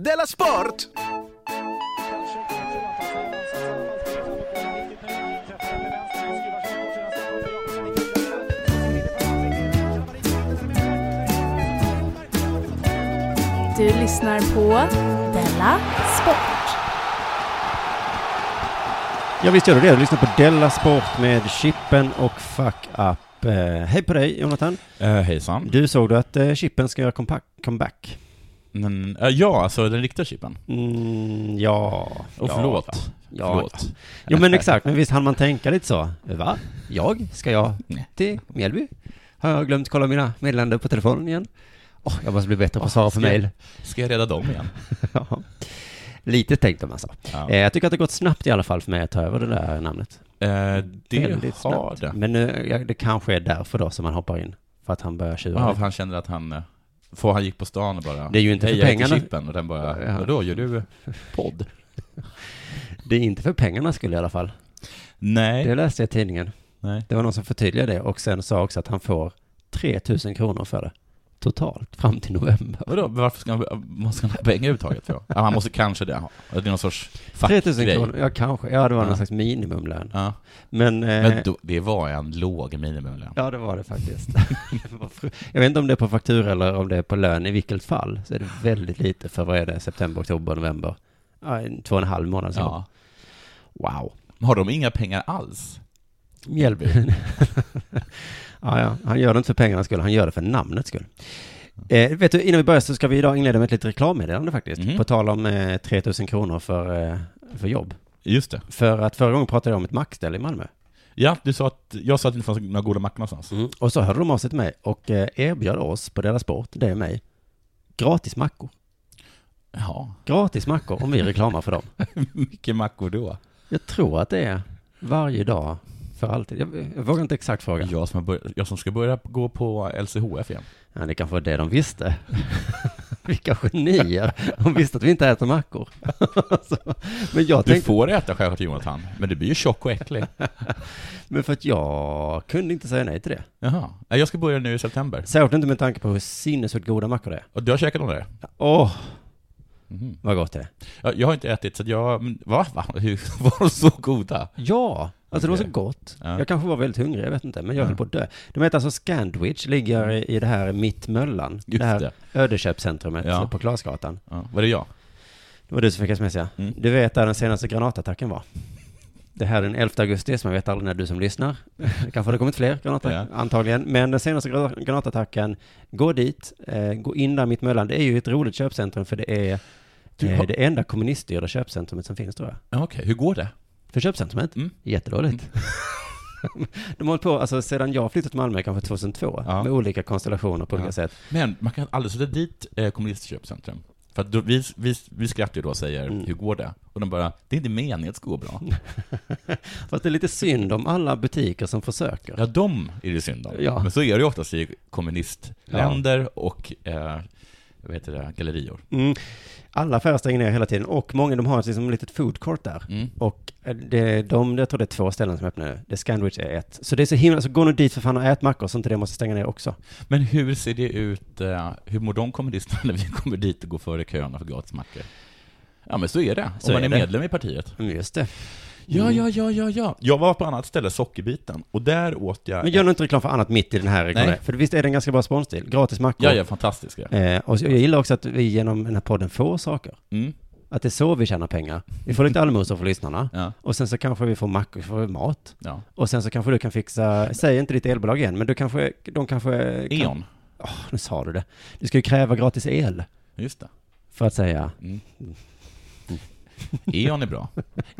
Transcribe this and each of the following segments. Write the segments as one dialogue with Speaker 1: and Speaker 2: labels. Speaker 1: Della Sport!
Speaker 2: Du lyssnar på Della Sport.
Speaker 3: Ja visst gör du det, du lyssnar på Della Sport med Chippen och Fuck Up. Eh, hej på dig Jonathan.
Speaker 4: Eh, hejsan.
Speaker 3: Du såg du att eh, Chippen ska göra compa- comeback?
Speaker 4: Men, eh, ja, alltså den riktiga chippen.
Speaker 3: Mm, ja.
Speaker 4: Och
Speaker 3: ja,
Speaker 4: förlåt.
Speaker 3: fan. Ja,
Speaker 4: förlåt. Eh,
Speaker 3: Jo men exakt, men visst hann man tänka lite så. Va? Jag? Ska jag
Speaker 4: Nej.
Speaker 3: till Mjällby? Har jag glömt kolla mina meddelanden på telefonen igen? Åh, jag måste bli bättre på att svara på
Speaker 4: Ska-
Speaker 3: mejl.
Speaker 4: Ska jag rädda dem igen?
Speaker 3: Ja. Lite tänkte man så.
Speaker 4: Ja.
Speaker 3: Eh, jag tycker att det har gått snabbt i alla fall för mig att ta över det där namnet.
Speaker 4: Eh, det
Speaker 3: Väldigt
Speaker 4: har
Speaker 3: snabbt.
Speaker 4: det.
Speaker 3: Men eh, ja, det kanske är därför då som han hoppar in. För att han börjar tjura.
Speaker 4: Ja, för han kände att han, eh, för han gick på stan och bara
Speaker 3: Det är ju inte
Speaker 4: "Hej,
Speaker 3: för
Speaker 4: jag heter
Speaker 3: pengarna."
Speaker 4: Chippen och den bara,
Speaker 3: Ja.
Speaker 4: vadå, gör du podd?
Speaker 3: Det är inte för pengarna skulle i alla fall.
Speaker 4: Nej.
Speaker 3: Det läste jag i tidningen.
Speaker 4: Nej.
Speaker 3: Det var någon som förtydligade det och sen sa också att han får 3000 kronor för det. Totalt fram till november.
Speaker 4: Vadå, varför ska han, måste han ha pengar överhuvudtaget för? Ja, han måste kanske det, ha. det är någon sorts
Speaker 3: 3000
Speaker 4: fackgrej.
Speaker 3: kronor, ja kanske. Ja, det var
Speaker 4: Ja.
Speaker 3: någon slags minimumlön.
Speaker 4: Ja.
Speaker 3: Men, eh,
Speaker 4: Men då, det var en låg minimilön.
Speaker 3: ja det var det faktiskt. Det var fru- jag vet inte om det är på faktura eller om det är på lön. I vilket fall så är det väldigt lite för vad är det, september, oktober, november. Ja, en- två och en halv månad sedan.
Speaker 4: Ja.
Speaker 3: Wow.
Speaker 4: Har de inga pengar alls?
Speaker 3: Mjällby. ja, ja, han gör det inte för pengarnas skull, han gör det för namnets skull. Eh, vet du, innan vi börjar så ska vi idag inleda med ett litet reklammeddelande faktiskt.
Speaker 4: Mhm.
Speaker 3: På tal om eh, 3000 kronor för, eh, för jobb.
Speaker 4: Just det.
Speaker 3: För att förra gången pratade jag om ett mackställe i Malmö.
Speaker 4: Ja, du sa att, jag sa att det inte fanns några goda mackor någonstans.
Speaker 3: Och så hörde de av sig till mig och eh, erbjöd oss på deras sport, det är mig, gratis mackor.
Speaker 4: Ja,
Speaker 3: Gratis mackor om vi reklamar för dem.
Speaker 4: mycket mackor då.
Speaker 3: Jag tror att det är varje dag för alltid. Jag, jag vågar inte exakt fråga.
Speaker 4: Jag som, har börjat, jag som ska börja gå på LCHF igen.
Speaker 3: Ja, det kanske var det de visste. Vilka genier. De visste att vi inte äter mackor. Så, men jag
Speaker 4: Du
Speaker 3: tänkte,
Speaker 4: får äta självklart Jonathan, men du blir ju tjock och äcklig.
Speaker 3: men för att jag kunde inte säga nej till det.
Speaker 4: Jaha. Nej, Jag ska börja nu i september.
Speaker 3: Särskilt inte med tanke på hur sinnessjukt goda mackor det är.
Speaker 4: Och du har käkat om det?
Speaker 3: Åh,
Speaker 4: Mhm.
Speaker 3: vad gott det är.
Speaker 4: Jag, jag har inte ätit, så att jag... men Va? Va? Hur var de så goda?
Speaker 3: Ja, alltså det var
Speaker 4: Okej.
Speaker 3: så gott.
Speaker 4: Ja.
Speaker 3: Jag kanske var väldigt hungrig, jag vet inte, men jag höll på att dö. De heter alltså Scandwich, ligger i i det här Mittmöllan. det här
Speaker 4: det.
Speaker 3: ödeköpscentrumet
Speaker 4: Ja.
Speaker 3: på Klasgatan.
Speaker 4: Ja. Var det jag?
Speaker 3: Det var du som fick sms ja.
Speaker 4: Mm.
Speaker 3: Du vet där den senaste granatattacken var. Det här är den 11 augusti, så man vet aldrig när du som lyssnar. Kanske har det kommit fler granater,
Speaker 4: Ja.
Speaker 3: antagligen. Men den senaste gra- granatattacken, gå dit, eh, gå in där mitt mellan. Det är ju ett roligt köpcentrum för det är
Speaker 4: Du
Speaker 3: eh,
Speaker 4: har-
Speaker 3: det enda kommuniststyrda köpcentrumet som finns tror jag.
Speaker 4: Ja, Okej, hur går det?
Speaker 3: För köpcentrumet?
Speaker 4: Mm.
Speaker 3: Jättedåligt. De har hållit på, alltså sedan jag flyttade till Malmö kanske 2002,
Speaker 4: Ja.
Speaker 3: med olika konstellationer på olika
Speaker 4: Ja.
Speaker 3: sätt.
Speaker 4: Men man kan aldrig sätta dit eh, kommunistköpcentrum. För att då, vi, vi, vi skrattar ju då och säger
Speaker 3: Mm.
Speaker 4: ”Hur går det?” och de bara ”Det är inte meningen att det ska gå bra”.
Speaker 3: Fast det är lite synd om alla butiker som försöker.
Speaker 4: Ja, de är det synd om.
Speaker 3: Ja.
Speaker 4: Men så är det ju oftast i kommunistländer och eh, vad heter det, gallerior.
Speaker 3: Mm. Alla affärer stänger ner hela tiden och många de har liksom ett litet food court där.
Speaker 4: Mm.
Speaker 3: Och eh, det, de, jag tror det är två ställen som öppnar nu. Det Scandwich är ett. Så det är så himla, så gå nu dit för fan och ät mackor så inte det måste stänga ner också.
Speaker 4: Men hur ser det ut, eh, hur mår de kommunisterna när vi kommer dit och går före köerna för gratismackor? Ja men så är det,
Speaker 3: Så
Speaker 4: om man
Speaker 3: är
Speaker 4: är,
Speaker 3: det.
Speaker 4: medlem i partiet.
Speaker 3: Mm, just det.
Speaker 4: Ja, ja, ja, ja, ja. Jag var på annat ställe, Sockerbiten, och där åt jag...
Speaker 3: Men gör nu inte reklam för annat mitt i den här reklamen.
Speaker 4: Nej.
Speaker 3: För visst är det en ganska bra sponsstil? Gratis mackor.
Speaker 4: Ja, ja, fantastiskt. Ja.
Speaker 3: Eh, och så- jag gillar också att vi genom den här podden får saker.
Speaker 4: Mm,
Speaker 3: Att det är så vi tjänar pengar. Vi får lite allmosor för lyssnarna.
Speaker 4: ja,
Speaker 3: Och sen så kanske vi får mackor, vi får mat.
Speaker 4: ja.
Speaker 3: Och sen så kanske du kan fixa, säg inte ditt elbolag igen, men du kanske, de kanske... kan-
Speaker 4: Eon,
Speaker 3: Åh, nu sa du det. Du ska ju kräva gratis el.
Speaker 4: just det.
Speaker 3: För att säga,
Speaker 4: Mm. Eon är bra.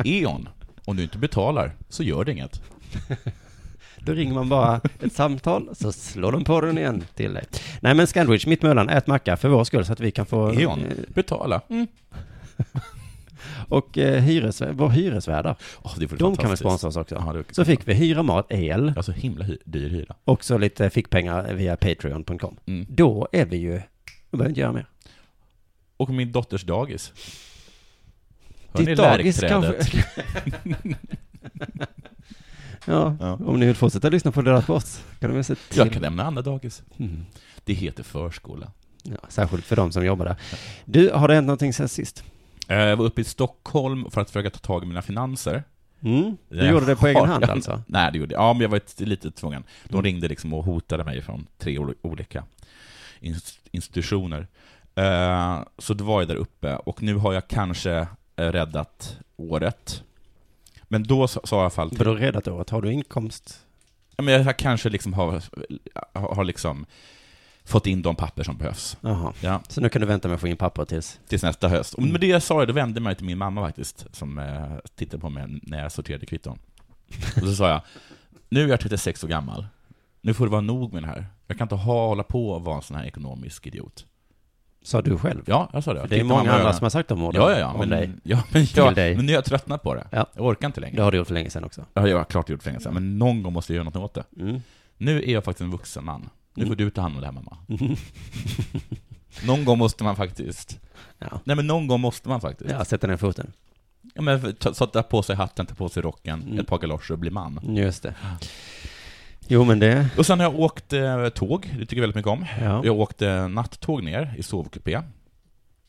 Speaker 4: Eon, om du inte betalar så gör det inget.
Speaker 3: då ringer man bara ett samtal, så slår de på den igen till dig. Nej men Scandwich, Mittmöllan, ät macka för vår skull så att vi kan få...
Speaker 4: Eon,
Speaker 3: eh,
Speaker 4: betala. Mm.
Speaker 3: Och eh, hyres, vår hyresvärdar,
Speaker 4: Åh, det vore
Speaker 3: de kan väl
Speaker 4: fantastiskt.
Speaker 3: sponsra oss också.
Speaker 4: Ja, det-
Speaker 3: Så fick vi hyra mat, el,
Speaker 4: Ja, så himla hy- dyr hyra.
Speaker 3: och så lite fickpengar via Patreon.com.
Speaker 4: Mm.
Speaker 3: Då är vi ju, då behöver vi inte göra mer.
Speaker 4: Och min dotters dagis. Hör ni lärkträdet?
Speaker 3: ja,
Speaker 4: Ja.
Speaker 3: om ni vill fortsätta lyssna på deras post kan de väl se till.
Speaker 4: Jag kan nämna andra dagis.
Speaker 3: Mm.
Speaker 4: Det heter förskola.
Speaker 3: Ja, särskilt för de som jobbar där. Du, har det hänt någonting sen sist?
Speaker 4: Eh, Jag var uppe i Stockholm för att försöka ta tag i mina finanser.
Speaker 3: Mm? Du
Speaker 4: Jag
Speaker 3: gjorde det på egen
Speaker 4: har-
Speaker 3: hand alltså? Mm.
Speaker 4: Nej, det gjorde jag. Ja, men jag var ett- lite tvungen. De ringde liksom och hotade mig från tre ol- olika inst- institutioner. Eh, Så då var jag där uppe och nu har jag kanske eh, räddat året. Men då sa sa jag i alla fall till
Speaker 3: För då räddat året, har du inkomst?
Speaker 4: Ja, men jag kanske liksom har, har liksom fått in de papper som behövs.
Speaker 3: Jaha.
Speaker 4: Ja,
Speaker 3: Så nu kan du vänta med att få in papper tills...
Speaker 4: tills nästa höst. Och med det sa jag, då vände jag mig till min mamma faktiskt, som eh, tittade på mig när jag sorterade kvitton. Och så sa jag, nu är jag 36 år gammal. Nu får det vara nog med det här. Jag kan inte ha, hålla på och vara en sån här ekonomisk idiot.
Speaker 3: Sa du själv?
Speaker 4: Ja, jag sa det.
Speaker 3: Det är många andra som har sagt de orden
Speaker 4: Ja, ja, ja.
Speaker 3: om
Speaker 4: men,
Speaker 3: dig.
Speaker 4: Ja, men,
Speaker 3: Till
Speaker 4: ja,
Speaker 3: dig.
Speaker 4: men nu har jag tröttnat på det.
Speaker 3: Ja.
Speaker 4: Jag orkar inte längre.
Speaker 3: Det har du gjort för länge sedan också.
Speaker 4: Ja, jag har klart gjort fängelse, men någon gång måste jag göra något åt det.
Speaker 3: Mm.
Speaker 4: Nu är jag faktiskt en vuxen man. Nu får
Speaker 3: Mm.
Speaker 4: du ta hand om det här mamma. Någon gång måste man faktiskt.
Speaker 3: Ja.
Speaker 4: Nej men någon gång måste man faktiskt. Ja.
Speaker 3: ja, sätta ner foten.
Speaker 4: men ta, ta, ta på sig hatten, ta på sig rocken,
Speaker 3: Mm.
Speaker 4: ett par galoscher och bli man.
Speaker 3: Just det. Jo, men det...
Speaker 4: Och sen har jag åkt eh, tåg, det tycker jag väldigt mycket om.
Speaker 3: Ja.
Speaker 4: Jag åkte nattåg ner i sovkupé.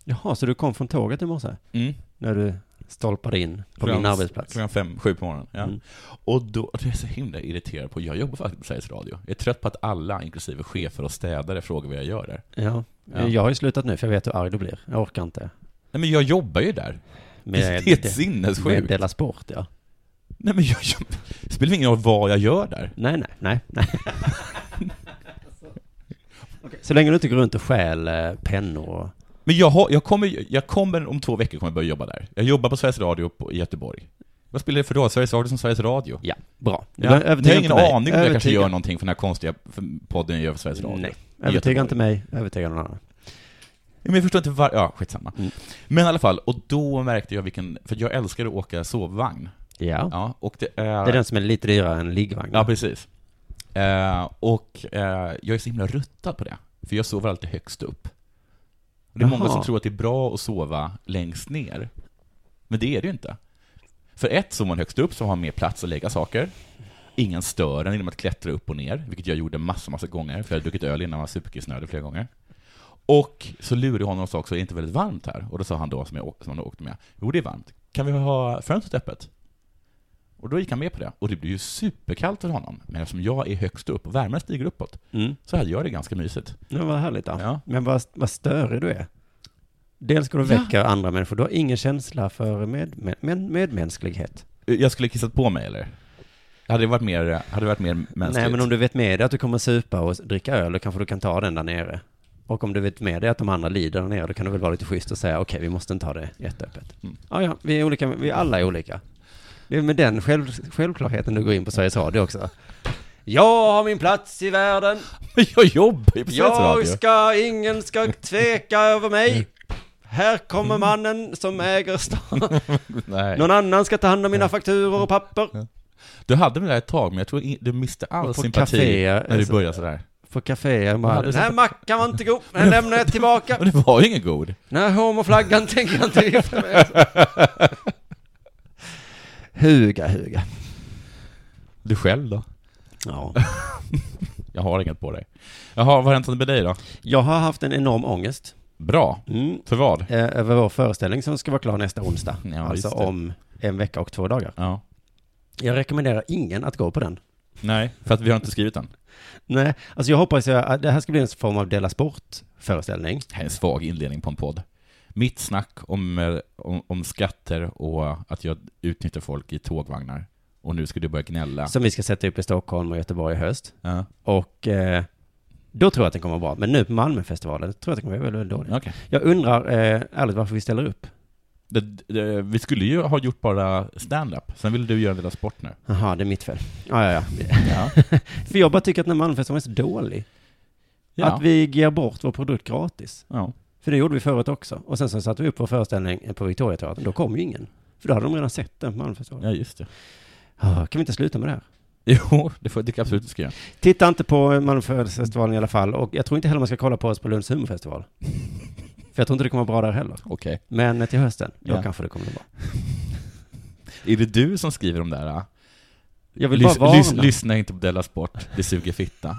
Speaker 3: Jaha, så du kom från tåget i morse?
Speaker 4: Mm.
Speaker 3: När du stolpade in på
Speaker 4: Klockan-
Speaker 3: din arbetsplats?
Speaker 4: Klockan fem, sju på morgonen. Ja.
Speaker 3: Mm.
Speaker 4: Och då, och det är jag så himla irriterad på, jag jobbar faktiskt på Sveriges Radio. Jag är trött på att alla, inklusive chefer och städare, frågar vad jag gör där.
Speaker 3: Ja.
Speaker 4: Ja.
Speaker 3: Jag har ju slutat nu, för jag vet hur arg du blir. Jag orkar inte.
Speaker 4: Nej men jag jobbar ju där.
Speaker 3: Med,
Speaker 4: det är ett
Speaker 3: det-
Speaker 4: sinnessjukt.
Speaker 3: med Della Sport, ja.
Speaker 4: Nej men jag, jag, det spelar ingen roll vad jag gör där.
Speaker 3: Nej, nej, nej, nej. Så länge du inte går runt och stjäl eh, pennor och...
Speaker 4: Men jag, har, jag, kommer, jag kommer om två veckor kommer jag börja jobba där. Jag jobbar på Sveriges Radio på, i Göteborg. Vad spelar det för roll? Sveriges Radio som Sveriges Radio?
Speaker 3: Ja, bra. Du
Speaker 4: Ja.
Speaker 3: behöver-
Speaker 4: Jag
Speaker 3: övertyga
Speaker 4: har ingen
Speaker 3: inte mig.
Speaker 4: aning om jag kanske
Speaker 3: Övertyga-
Speaker 4: gör någonting för den här konstiga för podden jag gör för Sveriges Radio.
Speaker 3: Nej.
Speaker 4: Nej.
Speaker 3: Övertyga
Speaker 4: Göteborg.
Speaker 3: inte mig, övertyga någon annan.
Speaker 4: Men jag förstår inte var... Ja, skitsamma.
Speaker 3: Mm.
Speaker 4: Men i alla fall, och då märkte jag vilken... För jag älskar att åka sovvagn.
Speaker 3: Ja.
Speaker 4: Ja, och det är...
Speaker 3: Det är den som är lite dyrare än liggvagn.
Speaker 4: Ja, precis. Eh, och eh, jag är så himla ruttad på det. För jag sover alltid högst upp. Och det är många
Speaker 3: Jaha.
Speaker 4: som tror att det är bra att sova längst ner. Men det är det ju inte. För ett, sover man högst upp så har man mer plats att lägga saker. Ingen stör en genom att klättra upp och ner, vilket jag gjorde massor, massor gånger, för jag hade druckit öl innan jag var superkissnödig flera gånger. Och så lurade jag honom och sa också, är det inte väldigt varmt här? Och då sa han då, som, jag, å- som han åkte med, jo det är varmt. Kan vi ha fönstret öppet? Och då gick han med på det. Och det blev ju superkallt för honom. Men eftersom jag är högst upp och värmen stiger uppåt,
Speaker 3: Mm.
Speaker 4: så hade jag det ganska mysigt.
Speaker 3: Ja, vad härligt då.
Speaker 4: Ja.
Speaker 3: Men vad, vad störig du är. Dels går du och
Speaker 4: Ja.
Speaker 3: väcker andra människor, du har ingen känsla för med, med, med, medmänsklighet.
Speaker 4: Jag skulle kissat på mig eller? Hade det varit mer, hade det varit mer mänskligt?
Speaker 3: Nej, men om du vet med dig att du kommer supa och dricka öl, då kanske du kan ta den där nere. Och om du vet med dig att de andra lider där nere, då kan du väl vara lite schysst och säga okej, vi måste inte ha det jätteöppet.
Speaker 4: Mm.
Speaker 3: Ja, ja, vi är olika, vi alla är olika. Det är med den själv, självklarheten du går in på Sveriges Radio också. Jag har min plats i världen,
Speaker 4: Jag jobbar ju på Sveriges
Speaker 3: jag
Speaker 4: Radio! Mm.
Speaker 3: ska, ingen ska tveka över mig. Här kommer mannen som äger stan.
Speaker 4: Nej.
Speaker 3: Någon annan ska ta hand om mina fakturor och papper.
Speaker 4: Du hade mig där ett tag, men jag tror in, du miste all
Speaker 3: Och på
Speaker 4: sympati
Speaker 3: café,
Speaker 4: när du
Speaker 3: alltså.
Speaker 4: började sådär.
Speaker 3: På kaféer
Speaker 4: Ja,
Speaker 3: bara,
Speaker 4: det är
Speaker 3: den
Speaker 4: så-
Speaker 3: här mackan var inte god, den lämnar jag tillbaka.
Speaker 4: Men det var ju ingen god.
Speaker 3: Den här homoflaggan tänker jag inte gifta mig med. Huga, huga.
Speaker 4: Du själv då?
Speaker 3: Ja.
Speaker 4: Jag har inget på dig. Jaha, vad har hänt med dig då?
Speaker 3: Jag har haft en enorm ångest
Speaker 4: Bra.
Speaker 3: mm.
Speaker 4: För vad?
Speaker 3: eh, över vår föreställning som ska vara klar nästa onsdag.
Speaker 4: Ja,
Speaker 3: alltså
Speaker 4: just det.
Speaker 3: om en vecka och två dagar.
Speaker 4: Ja.
Speaker 3: Jag rekommenderar ingen att gå på den.
Speaker 4: Nej, för att vi har inte skrivit den.
Speaker 3: Nej, alltså jag hoppas ju att det här ska bli en form av Dela Sport-föreställning.
Speaker 4: Det här är en svag inledning på en podd. Mitt snack om, eh, om, om skatter och att jag utnyttjar folk i tågvagnar. Och nu ska du börja gnälla.
Speaker 3: Som vi ska sätta upp i Stockholm och Göteborg i höst.
Speaker 4: Ja,
Speaker 3: Och eh, då tror jag att den kommer vara bra. Men nu på Malmöfestivalen tror jag att den kommer vara väldigt, väldigt dålig.
Speaker 4: okej.
Speaker 3: Jag undrar eh, ärligt varför vi ställer upp.
Speaker 4: Det, det, vi skulle ju ha gjort bara stand-up. Sen ville du göra en del sport nu.
Speaker 3: Jaha, det är mitt fel. Ja, ja, ja.
Speaker 4: Ja.
Speaker 3: För jag bara tycker att den här Malmöfestivalen är så dålig. Att vi ger bort vår produkt gratis.
Speaker 4: ja.
Speaker 3: För det gjorde vi förut också. Och sen så satte vi upp vår föreställning på Victoriateatern. Då kom ju ingen. För då hade de redan sett den på Malmöfestivalen.
Speaker 4: ja, just det.
Speaker 3: Ah, Kan vi inte sluta med det här?
Speaker 4: Jo, det får det absolut skriva.
Speaker 3: Titta inte på Malmöfestivalen i alla fall. Och jag tror inte heller man ska kolla på oss på Lunds humorfestival. För jag tror inte det kommer vara bra där heller.
Speaker 4: Okej.
Speaker 3: Men till hösten, då
Speaker 4: Ja.
Speaker 3: kanske det kommer att vara bra.
Speaker 4: Är det du som skriver de där
Speaker 3: Jag vill
Speaker 4: Lys,
Speaker 3: bara varna.
Speaker 4: lys, lyssna inte på Della Sport, det suger fitta.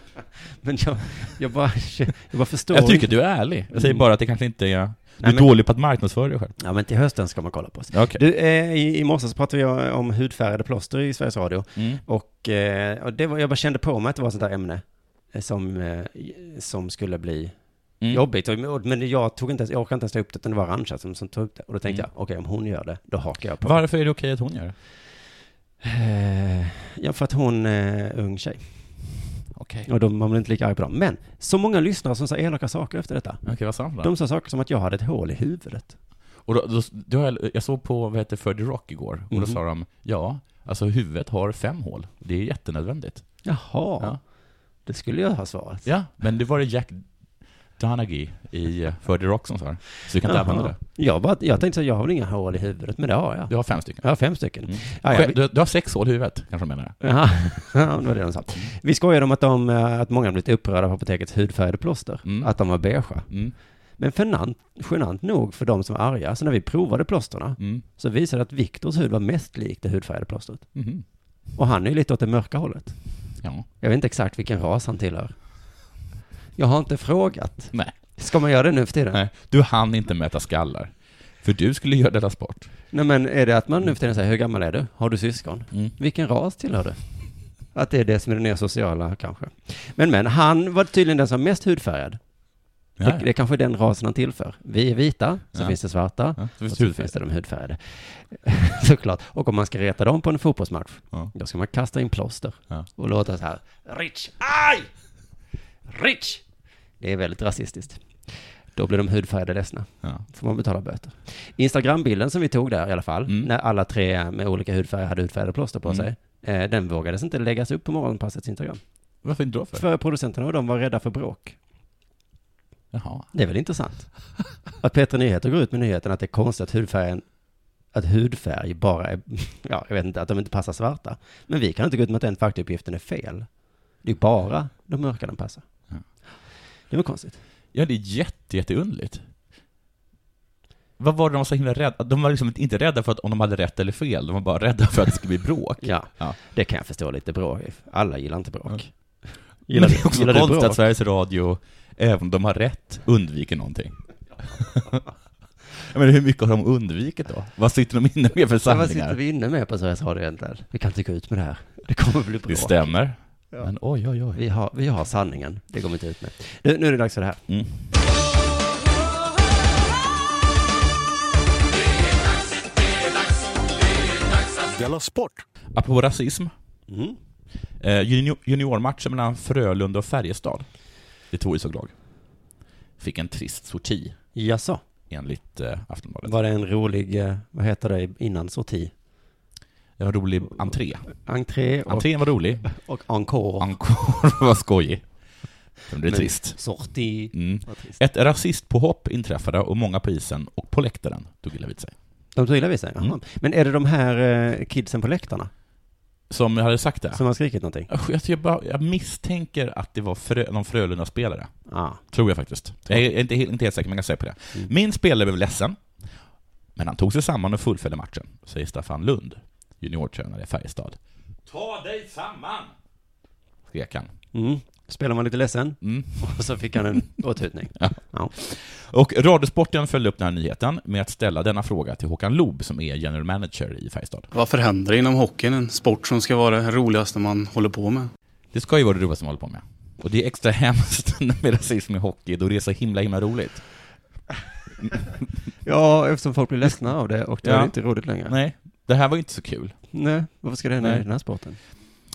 Speaker 3: Men jag, jag, bara, jag bara förstår.
Speaker 4: Jag tycker att du är ärlig. Jag säger
Speaker 3: Mm.
Speaker 4: bara att det kanske inte är... Du är
Speaker 3: Nej, men-
Speaker 4: dålig på att marknadsföra dig själv.
Speaker 3: Ja, men till hösten ska man kolla på oss.
Speaker 4: Okej.
Speaker 3: Du, eh, i, i morse så pratade jag om hudfärgade plåster i Sveriges Radio.
Speaker 4: Mm.
Speaker 3: Och, eh, och det var, jag bara kände på mig att det var sånt där ämne eh, som, eh, som skulle bli
Speaker 4: Mm.
Speaker 3: jobbigt. Och- och- Men jag, tog inte ens, jag orkade inte ens ta upp det, utan det var Arantxa som, som tog upp det. Och då tänkte
Speaker 4: Mm.
Speaker 3: jag, okej, om hon gör det, då hakar jag på.
Speaker 4: Varför är det okej att hon gör det?
Speaker 3: Eh, ja, för att hon är eh, ung tjej.
Speaker 4: Okej.
Speaker 3: Och de, man blir inte lika arg på dem. Men, så många lyssnare som sa elaka saker efter detta.
Speaker 4: Okej, vad sant
Speaker 3: De sa saker som att jag hade ett hål i huvudet.
Speaker 4: Och då, då, då har jag, jag såg på, vad heter Ferdy Rock igår, och då
Speaker 3: Mhm.
Speaker 4: sa de, ja, alltså huvudet har fem hål. Det är jättenödvändigt.
Speaker 3: Jaha,
Speaker 4: Ja.
Speaker 3: det skulle jag ha svarat.
Speaker 4: Ja, men det var det Jack Donaghy i eh, Ferdy Rock som sa det. Så du kan inte
Speaker 3: Jaha.
Speaker 4: använda det.
Speaker 3: Jag, bara, jag tänkte så här, jag har väl inga hål i huvudet, men det har jag.
Speaker 4: Du har fem stycken.
Speaker 3: Jag har fem stycken.
Speaker 4: Mm.
Speaker 3: Ah, Ja, ja, vi-
Speaker 4: Du, du har sex hål i huvudet, kanske de menar.
Speaker 3: Jaha, ja, det var det de sa.
Speaker 4: Mm.
Speaker 3: Vi skojade om att, de, eh, att många har blivit upprörda av apotekets hudfärgade plåster.
Speaker 4: Mm.
Speaker 3: Att de var beige.
Speaker 4: Mm.
Speaker 3: Men genant, genant nog för de som är arga, så när vi provade plåsterna
Speaker 4: Mm.
Speaker 3: så visade det att Viktors hud var mest lik det hudfärgade plåstret.
Speaker 4: Mhm.
Speaker 3: Och han är ju lite åt det mörka hållet.
Speaker 4: Ja.
Speaker 3: Jag vet inte exakt vilken ras han tillhör. Jag har inte frågat.
Speaker 4: Nej.
Speaker 3: Ska man göra det nu för tiden? Nej,
Speaker 4: Nej, du hann inte mäta skallar. För du skulle göra Della Sport.
Speaker 3: men är det att man nu för tiden säger, hur gammal är du? Har du syskon?
Speaker 4: Mm.
Speaker 3: Vilken ras tillhör du? Att det är det som är det nya sociala kanske. Men men, han var tydligen den som var mest hudfärgad.
Speaker 4: Ja.
Speaker 3: Det, det är kanske den rasen han tillför. Vi är vita, så
Speaker 4: Ja.
Speaker 3: finns det svarta,
Speaker 4: Ja, så
Speaker 3: och
Speaker 4: finns
Speaker 3: så
Speaker 4: det
Speaker 3: finns det de hudfärgade. Såklart. Och om man ska reta dem på en fotbollsmatch,
Speaker 4: Ja.
Speaker 3: då ska man kasta in plåster
Speaker 4: Ja.
Speaker 3: och låta så här. Rich! Aj! Rich! Det är väldigt rasistiskt. Då blir de hudfärgade ledsna.
Speaker 4: Ja.
Speaker 3: Får man betala böter. Instagrambilden som vi tog där i alla fall,
Speaker 4: Mm.
Speaker 3: när alla tre med olika hudfärger hade hudfärgade plåster på
Speaker 4: Mm.
Speaker 3: sig, eh, den vågades inte läggas upp på morgonpassets Instagram.
Speaker 4: Varför inte då för?
Speaker 3: För producenterna och de var rädda för bråk.
Speaker 4: Jaha.
Speaker 3: Det är väl intressant? Att Petra Nyheter går ut med nyheten att det är konstigt att hudfärgen, att hudfärg bara är, ja, jag vet inte, att de inte passar svarta. Men vi kan inte gå ut med att den faktauppgiften är fel. Det är bara de mörka den passar.
Speaker 4: Ja.
Speaker 3: Det var konstigt.
Speaker 4: Ja, det är jätte, jätteunderligt. Vad var det de var så himla rädda? De var liksom inte rädda för att om de hade rätt eller fel, de var bara rädda för att det skulle bli bråk.
Speaker 3: Ja,
Speaker 4: Ja.
Speaker 3: det kan jag förstå lite bråk. Alla gillar inte bråk.
Speaker 4: Men det är också
Speaker 3: gillar du
Speaker 4: konstigt
Speaker 3: bråk?
Speaker 4: att Sveriges Radio, även om de har rätt, undviker någonting. Jag menar, hur mycket har de undvikit då? Vad sitter de inne med för
Speaker 3: Ja, Vad sitter
Speaker 4: sanningar?
Speaker 3: vi inne med på Sveriges Radio egentligen? Vi kan inte gå ut med det här. Det kommer bli
Speaker 4: Det
Speaker 3: bråk.
Speaker 4: stämmer. Men oj, oj, oj.
Speaker 3: Vi har, vi har sanningen. Det går vi inte ut med. Nu, nu är det dags för det här.
Speaker 4: Mm.
Speaker 1: Della Sport!
Speaker 4: Apropå rasism,
Speaker 3: Mm.
Speaker 4: eh, junior- juniormatchen mellan Frölunda och Färjestad, det tog ju såg fick en trist sorti
Speaker 3: Jaså?
Speaker 4: enligt eh, Aftonbladet.
Speaker 3: Var det en rolig, eh, vad heter det innan sorti?
Speaker 4: Det var en rolig entré.
Speaker 3: Entré och,
Speaker 4: Entrén var rolig,
Speaker 3: och encore.
Speaker 4: encore var skojig. Men det är
Speaker 3: Men-
Speaker 4: trist.
Speaker 3: Sorti.
Speaker 4: Mm.
Speaker 3: Vad trist.
Speaker 4: Ett rasistpåhopp inträffade och många på isen och på läktaren tog illa vid sig.
Speaker 3: De tog illa vid sig? Jaha.
Speaker 4: Mm.
Speaker 3: Men är det de här eh, kidsen på läktarna
Speaker 4: Som jag hade sagt det.
Speaker 3: som har skrikit någonting?
Speaker 4: Usch, Jag, jag, bara, jag misstänker att det var frö, någon Frölunda-spelare.
Speaker 3: Ja.
Speaker 4: Tror jag faktiskt. Jag är inte, helt- inte helt säker, men jag kan säga på det.
Speaker 3: Mm.
Speaker 4: Min spelare blev ledsen, men han tog sig samman och fullföljde matchen, säger Staffan Lund, juniortränare i Färjestad. Ta dig samman! Skrek han.
Speaker 3: Mm. Spelar man lite ledsen
Speaker 4: Mm.
Speaker 3: och så fick han en åthutning.
Speaker 4: Ja.
Speaker 3: Ja.
Speaker 4: Och Radiosporten följde upp den här nyheten med att ställa denna fråga till Håkan Loob som är general manager i Färjestad.
Speaker 5: Varför händer det inom hockeyn? En sport som ska vara det roligaste man håller på med.
Speaker 4: Det ska ju vara det roligaste man håller på med. Och det är extra hemskt med rasism i hockey, då det är så himla, himla roligt.
Speaker 3: ja, eftersom folk blir ledsna av det och då är
Speaker 4: Ja.
Speaker 3: det inte roligt längre. Nej.
Speaker 4: Nej, det här var ju inte så kul.
Speaker 3: Varför ska det hända
Speaker 4: Nej.
Speaker 3: i den här sporten?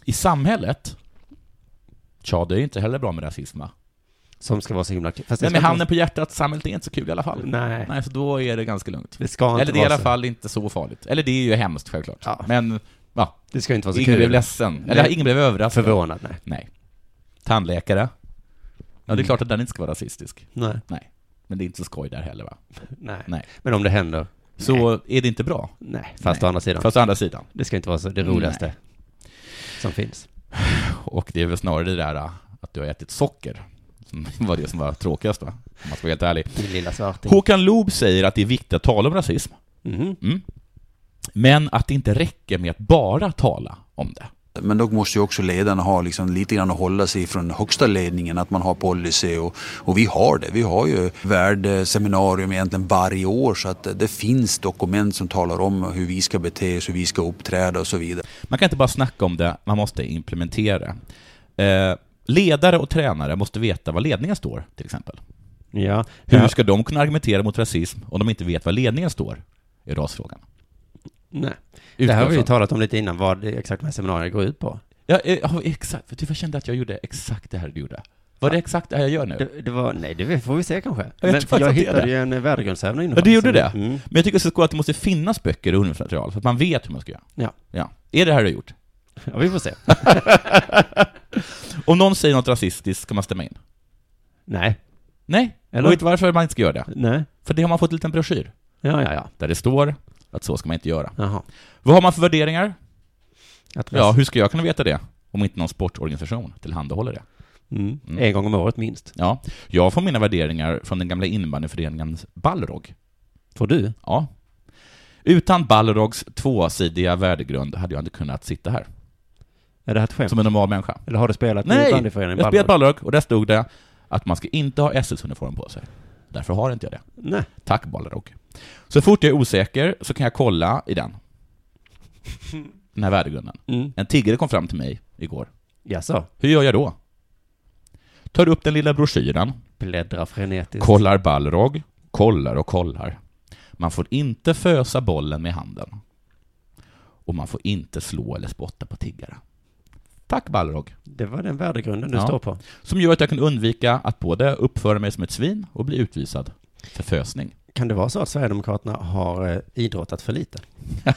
Speaker 4: I samhället, tja, det är inte heller bra med rasism va?
Speaker 3: Som ska vara så himla kul. Fast det
Speaker 4: Nej, med
Speaker 3: ska
Speaker 4: handen på hjärtat, samhället är inte så kul i alla fall.
Speaker 3: Nej.
Speaker 4: Nej, så då är det ganska lugnt.
Speaker 3: Det ska inte
Speaker 4: Eller det är i
Speaker 3: vara
Speaker 4: alla
Speaker 3: så.
Speaker 4: fall inte så farligt. Eller det är ju hemskt självklart.
Speaker 3: Ja.
Speaker 4: Men, ja,
Speaker 3: Det ska inte vara så
Speaker 4: ingen blev
Speaker 3: kul.
Speaker 4: ledsen. Eller
Speaker 3: Nej.
Speaker 4: ingen blev överraskad.
Speaker 3: Förvånad, nej.
Speaker 4: Nej. Tandläkare. Ja, det
Speaker 3: Mm.
Speaker 4: är klart att den inte ska vara rasistisk.
Speaker 3: nej.
Speaker 4: Nej. Men det är inte så skoj där heller va?
Speaker 3: Nej.
Speaker 4: Nej.
Speaker 3: Men om det händer?
Speaker 4: Så är det inte bra.
Speaker 3: Nej. Fast
Speaker 4: Nej.
Speaker 3: å andra sidan,
Speaker 4: Fast å andra sidan.
Speaker 3: det ska inte vara så, det roligaste som finns.
Speaker 4: Och det är väl snarare det där äh, att du har ätit socker. Som var det som var tråkigast va? Om man ska vara helt ärlig.
Speaker 3: Din lilla svarting.
Speaker 4: Håkan Loob säger att det är viktigt att tala om rasism.
Speaker 3: Mhm.
Speaker 4: Mm. Men att det inte räcker med att bara tala om det.
Speaker 6: Men då måste ju också ledarna ha liksom lite grann att hålla sig från högsta ledningen, att man har policy och, och vi har det. Vi har ju värdeseminarium egentligen varje år så att det finns dokument som talar om hur vi ska bete oss, hur vi ska uppträda och så vidare.
Speaker 4: Man kan inte bara snacka om det, man måste implementera. Eh, ledare och tränare måste veta var ledningen står, till exempel.
Speaker 3: Ja.
Speaker 4: Hur
Speaker 3: Ja.
Speaker 4: ska de kunna argumentera mot rasism om de inte vet var ledningen står i rasfrågan?
Speaker 3: Nej. Det här
Speaker 4: Utgår
Speaker 3: har vi ju
Speaker 4: ifrån.
Speaker 3: talat om lite innan, vad det, exakt de här seminarierna går ut på.
Speaker 4: Ja, eh, ja, exakt. För typ jag kände att jag gjorde exakt det här du gjorde. Var det exakt det här jag gör nu?
Speaker 3: Det, det var, nej, det får vi se kanske.
Speaker 4: tror
Speaker 3: Men, för
Speaker 4: faktiskt
Speaker 3: jag
Speaker 4: att det är
Speaker 3: hittade
Speaker 4: det.
Speaker 3: ju en eh, värdegrundsövning innan.
Speaker 4: Ja, du gjorde
Speaker 3: som-
Speaker 4: det?
Speaker 3: Mm.
Speaker 4: Men jag tycker så att det måste finnas böcker och undervisningsmaterial, så att man vet hur man ska göra.
Speaker 3: Ja.
Speaker 4: ja. Är det här du har gjort?
Speaker 3: Ja, vi får se.
Speaker 4: Om någon säger något rasistiskt, ska man stämma in?
Speaker 3: nej.
Speaker 4: Nej.
Speaker 3: Eller?
Speaker 4: Och vet du varför man inte ska göra det?
Speaker 3: Nej.
Speaker 4: För det har man fått en liten broschyr,
Speaker 3: Ja, ja, ja.
Speaker 4: där det står att så ska man inte göra.
Speaker 3: Jaha.
Speaker 4: Vad har man för värderingar?
Speaker 3: Att
Speaker 4: Ja, hur ska jag kunna veta det? Om inte någon sportorganisation tillhandahåller det.
Speaker 3: Mm.
Speaker 4: Mm.
Speaker 3: En gång om året minst.
Speaker 4: Ja, jag får mina värderingar från den gamla innebandyföreningen Balrog.
Speaker 3: Får du?
Speaker 4: Ja. Utan Balrogs tvåsidiga värdegrund hade jag inte kunnat sitta här,
Speaker 3: Är det här ett skämt?
Speaker 4: som en normal människa.
Speaker 3: Eller har du spelat i
Speaker 4: Nej!
Speaker 3: bandyföreningen?
Speaker 4: Jag spelade
Speaker 3: Ballrock?
Speaker 4: Balrog och där stod det att man ska inte ha SS-uniform på sig. Därför har inte jag det.
Speaker 3: Nej.
Speaker 4: Tack Balrog. Så fort jag är osäker så kan jag kolla i den. Den här värdegrunden.
Speaker 3: Mm.
Speaker 4: En tiggare kom fram till mig igår.
Speaker 3: Jaså?
Speaker 4: Hur gör jag då? Tar upp den lilla broschyren,
Speaker 3: Bläddra frenetiskt.
Speaker 4: kollar Balrog, kollar och kollar. Man får inte fösa bollen med handen. Och man får inte slå eller spotta på tiggare. Tack Balrog.
Speaker 3: Det var den värdegrunden du
Speaker 4: Ja.
Speaker 3: står på.
Speaker 4: Som gör att jag kan undvika att både uppföra mig som ett svin och bli utvisad för fösning.
Speaker 3: Kan det vara så att Sverigedemokraterna har eh, idrottat för lite?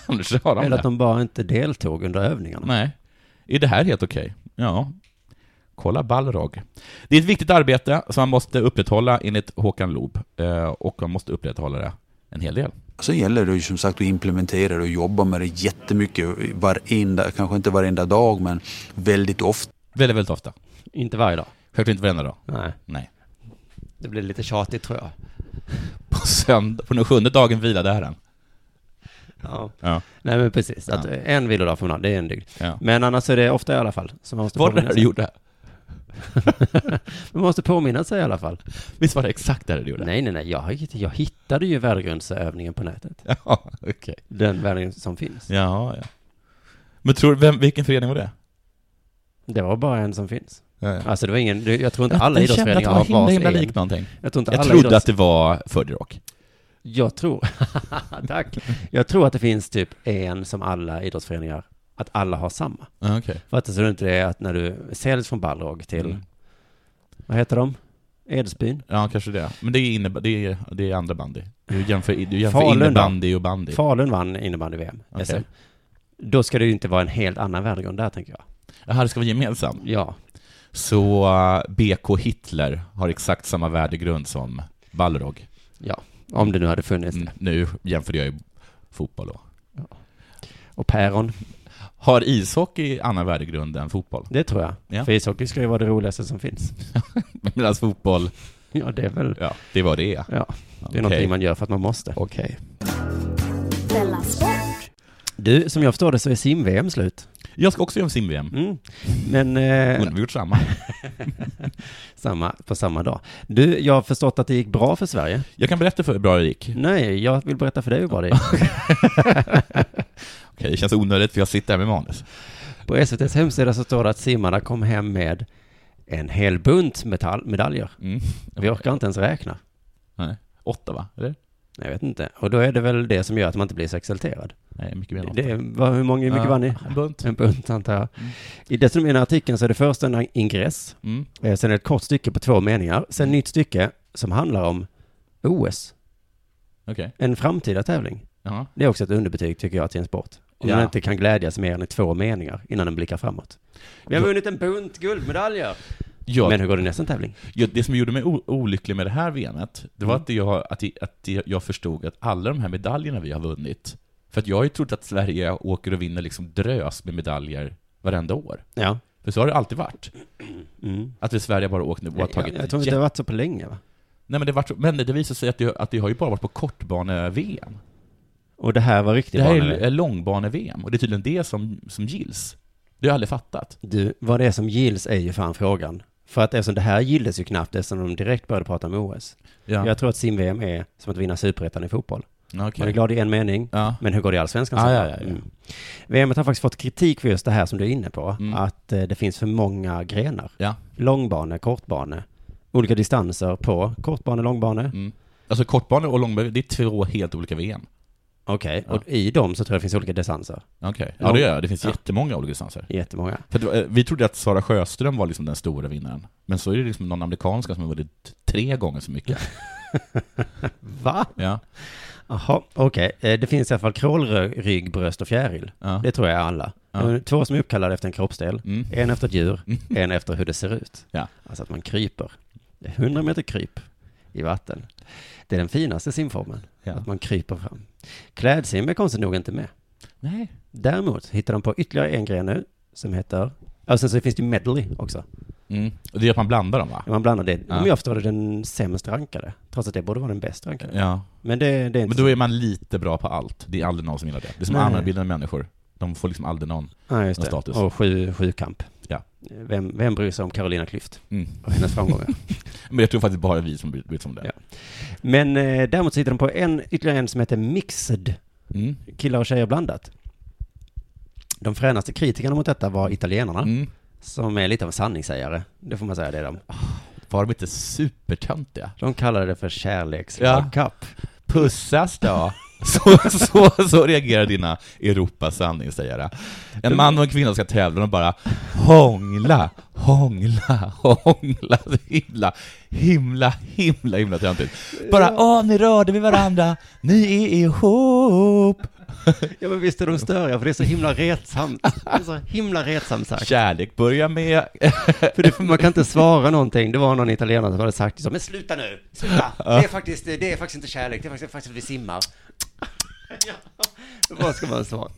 Speaker 4: Annars har de
Speaker 3: Eller att
Speaker 4: det.
Speaker 3: de bara inte deltog under övningarna?
Speaker 4: Nej. Är det här helt okej? Ja. Kolla Balrog. Det är ett viktigt arbete som man måste upprätthålla enligt Håkan Loob. eh, Och man måste upprätthålla det en hel del.
Speaker 6: Så gäller det ju som sagt att implementera det och jobba med det jättemycket varenda, kanske inte varenda dag men väldigt ofta.
Speaker 4: Väldigt, väldigt ofta.
Speaker 3: Inte varje dag?
Speaker 4: Självklart inte varenda dag.
Speaker 3: Nej.
Speaker 4: Nej.
Speaker 3: Det blir lite tjatigt tror jag.
Speaker 4: På, sönd- på den sjunde dagen vilade herren.
Speaker 3: Ja.
Speaker 4: Ja.
Speaker 3: Nej men precis, att eh,
Speaker 4: Ja.
Speaker 3: en vilodag får man ha, det är en dygd.
Speaker 4: ja.
Speaker 3: Men annars är det ofta i alla fall. Så man liksom- måste,
Speaker 4: Var det det
Speaker 3: påminna
Speaker 4: här du
Speaker 3: sig.
Speaker 4: gjorde?
Speaker 3: man måste påminna sig i alla fall.
Speaker 4: Visst var det exakt det här du gjorde?
Speaker 3: Nej, nej, nej, jag, har inte- jag hittade ju värdegrundsövningen på nätet.
Speaker 4: Ja, okej.
Speaker 3: Den värdegrund som finns.
Speaker 4: Ja, ja. Men tror du, vem, vilken förening var det?
Speaker 3: Det var bara en som finns.
Speaker 4: Ja, ja.
Speaker 3: Alltså det var ingen, det- jag tror inte
Speaker 4: Jag-
Speaker 3: alla
Speaker 4: jag kände att
Speaker 3: idrottsföreningar
Speaker 4: det
Speaker 3: har
Speaker 4: var himla,
Speaker 3: vars
Speaker 4: himla
Speaker 3: en.
Speaker 4: likt någonting.
Speaker 3: Jag tror inte
Speaker 4: Jag
Speaker 3: alla
Speaker 4: trodde
Speaker 3: idrotts...
Speaker 4: att det var Fuddy Rock.
Speaker 3: Jag tror... Tack. Jag tror att det finns typ en som alla idrottsföreningar, att alla har samma.
Speaker 4: Ja, Ah, okej.
Speaker 3: För att det ser inte det att när du säljs från Balrog till,
Speaker 4: Mm.
Speaker 3: vad heter de? Edsbyn?
Speaker 4: Ja, kanske det. Men det är, inneba- det är, det är andra bandy. Du jämför, du jämför
Speaker 3: Falun då?
Speaker 4: innebandy och bandy.
Speaker 3: Falun vann innebandy-VM,
Speaker 4: Okej.
Speaker 3: SM. Då ska det ju inte vara en helt annan värdegrund där, tänker jag.
Speaker 4: Jaha, det ska vara gemensam.
Speaker 3: Ja,
Speaker 4: Så eh, BK Hitler har exakt samma värdegrund som Balrog.
Speaker 3: ja. Om det nu hade funnits
Speaker 4: Mm,
Speaker 3: det.
Speaker 4: nu jämförde jag ju fotboll då.
Speaker 3: Och päron,
Speaker 4: Har ishockey annan värdegrund än fotboll?
Speaker 3: det tror jag.
Speaker 4: Ja.
Speaker 3: För ishockey ska ju vara det roligaste som finns.
Speaker 4: Medan fotboll,
Speaker 3: Ja, det är väl...
Speaker 4: ja, det var det är.
Speaker 3: Ja, det är
Speaker 4: Okej.
Speaker 3: någonting man gör för att man måste.
Speaker 4: Okej.
Speaker 2: Della Sport.
Speaker 3: Du, som jag förstår det så är sim-VM slut.
Speaker 4: Jag ska också göra en sim-VM.
Speaker 3: Mm. Men... eh,
Speaker 4: Undrar om vi gjort samma.
Speaker 3: Samma, på samma dag. Du, jag har förstått att det gick bra för Sverige.
Speaker 4: Jag kan berätta för hur bra det gick. Okej,
Speaker 3: Nej, jag vill berätta för dig hur bra det gick.
Speaker 4: det känns onödigt för jag sitter här med manus.
Speaker 3: På SVTs hemsida så står det att simmarna kom hem med en hel bunt metall, medaljer.
Speaker 4: Mm.
Speaker 3: Vi orkar inte ens räkna.
Speaker 4: Nej. Åtta va? Eller?
Speaker 3: Nej, Jag vet inte. Och då är det väl det som gör att man inte blir så exalterad.
Speaker 4: Nej, mycket mer än åtta.
Speaker 3: Det är, vad, hur många, hur mycket
Speaker 4: Ja,
Speaker 3: vann ni?
Speaker 4: En bunt.
Speaker 3: En bunt antar jag. I dessutom i den här artikeln så är det först en ingress,
Speaker 4: Mm.
Speaker 3: eh, sen ett kort stycke på två meningar, sen nytt stycke som handlar om OS,
Speaker 4: Okej.
Speaker 3: en framtida tävling.
Speaker 4: Jaha.
Speaker 3: Det är också ett underbetyg tycker jag till en sport. Om
Speaker 4: Ja.
Speaker 3: den inte kan glädjas mer än i två meningar innan den blickar framåt. Vi har vunnit en bunt guldmedaljer.
Speaker 4: Ja,
Speaker 3: Men hur går det i nästa tävling?
Speaker 4: ja, det som gjorde mig o- olycklig med det här VMet, det
Speaker 3: Mm.
Speaker 4: var att, jag, att, det- att det- jag förstod att alla de här medaljerna vi har vunnit, för att jag har ju trott att Sverige åker och vinner liksom drös med medaljer varenda år.
Speaker 3: Ja.
Speaker 4: För så har det alltid varit.
Speaker 3: Mm.
Speaker 4: Att vi i Sverige bara åkt nu och har
Speaker 3: Jag, jag,
Speaker 4: tagit
Speaker 3: jag tror inte det har varit så på länge va?
Speaker 4: Nej, men, det vart så, men det visade sig att det, att det har ju bara varit på kortbane-VM.
Speaker 3: Och det här var riktigt
Speaker 4: Det här
Speaker 3: bana.
Speaker 4: är är långbane-VM och det är tydligen det som, som gills. Det har jag aldrig fattat.
Speaker 3: Du, vad det är som gills är ju fan frågan. För att eftersom det här gilldes ju knappt eftersom de direkt började prata om OS.
Speaker 4: Ja,
Speaker 3: Jag tror att sim-VM är som att vinna superettan i fotboll.
Speaker 4: ja okej.
Speaker 3: Man är glad i en mening,
Speaker 4: Ja.
Speaker 3: men hur går det i allsvenskan?
Speaker 4: Ah,
Speaker 3: sen?
Speaker 4: ja, ja, ja.
Speaker 3: Mm. VM har faktiskt fått kritik för just det här som du är inne på,
Speaker 4: Mm.
Speaker 3: att eh, det finns för många grenar.
Speaker 4: ja.
Speaker 3: Långbane, kortbane, olika distanser på kortbane, långbane.
Speaker 4: Mm. Alltså kortbane och långbane, det är två helt olika VM.
Speaker 3: Okej,
Speaker 4: Ja.
Speaker 3: och i dem så tror jag det finns olika distanser.
Speaker 4: Okej. Ja, det gör jag. Det finns
Speaker 3: Ja.
Speaker 4: jättemånga olika distanser.
Speaker 3: Jättemånga.
Speaker 4: För det var, eh, vi trodde att Sara Sjöström var liksom den stora vinnaren. Men så är det liksom någon amerikanska som har vunnit tre gånger så mycket.
Speaker 3: Va?
Speaker 4: Ja.
Speaker 3: Jaha, okej. Eh, Det finns i alla fall krålrygg, bröst och fjäril.
Speaker 4: ja.
Speaker 3: Det tror jag är alla.
Speaker 4: Ja.
Speaker 3: Eh, Två som är uppkallade efter en kroppsdel.
Speaker 4: Mm.
Speaker 3: En efter ett djur,
Speaker 4: Mm.
Speaker 3: en efter hur det ser ut.
Speaker 4: Ja.
Speaker 3: Alltså att man kryper. Det är 100 meter kryp i vatten. Det är den finaste simformen,
Speaker 4: Ja.
Speaker 3: att man kryper fram. Klädsim är konstigt nog inte med.
Speaker 4: Nej.
Speaker 3: Däremot hittar de på ytterligare en gren nu, som heter... Och sen så finns det ju medley också.
Speaker 4: Mm. Och det är att man blandar dem va?
Speaker 3: Man blandar det,
Speaker 4: Ja.
Speaker 3: om jag förstår det, den sämst rankade. Trots att det borde vara den bäst rankade.
Speaker 4: Ja.
Speaker 3: Men det, det är
Speaker 4: Men
Speaker 3: inte...
Speaker 4: då är man lite bra på allt. Det är aldrig någon som gillar det. Det är som
Speaker 3: Nej.
Speaker 4: allmänbildande människor. De får liksom aldrig någon.
Speaker 3: Ja, just
Speaker 4: någon
Speaker 3: det.
Speaker 4: status.
Speaker 3: Och sju, sju kamp.
Speaker 4: Ja.
Speaker 3: Vem, vem bryr sig om Carolina Klüft
Speaker 4: Mm.
Speaker 3: och hennes framgångar?
Speaker 4: Men jag tror faktiskt bara vi som bryr oss om det.
Speaker 3: Men eh, däremot så hittar de på en, ytterligare en som heter Mixed,
Speaker 4: Mm.
Speaker 3: killar och tjejer blandat. De fränaste kritikerna mot detta var italienarna,
Speaker 4: Mm.
Speaker 3: som är lite av en sanningssägare. Det får man säga, det är de.
Speaker 4: Var de inte supertöntiga?
Speaker 3: De kallade det för kärlekslagkapp.
Speaker 4: Pussas då? Så, så, så reagerar dina Europas sanningssägare. En man och en kvinna ska tävla och bara hångla, hångla, hångla. Så himla, himla, himla, himla töntigt. Bara åh, ni rörde vid varandra, ni är ihop.
Speaker 3: Ja. men visst är de störiga, för det är så himla retsamt. Det är så himla retsamt sagt.
Speaker 4: Kärlek börjar med...
Speaker 3: För det, man kan inte svara någonting. Det var någon italienare som hade sagt så, men sluta nu, sluta. Det är faktiskt, det är faktiskt inte kärlek, det är faktiskt, det är faktiskt att vi simmar. Ja. Vad ska man svara?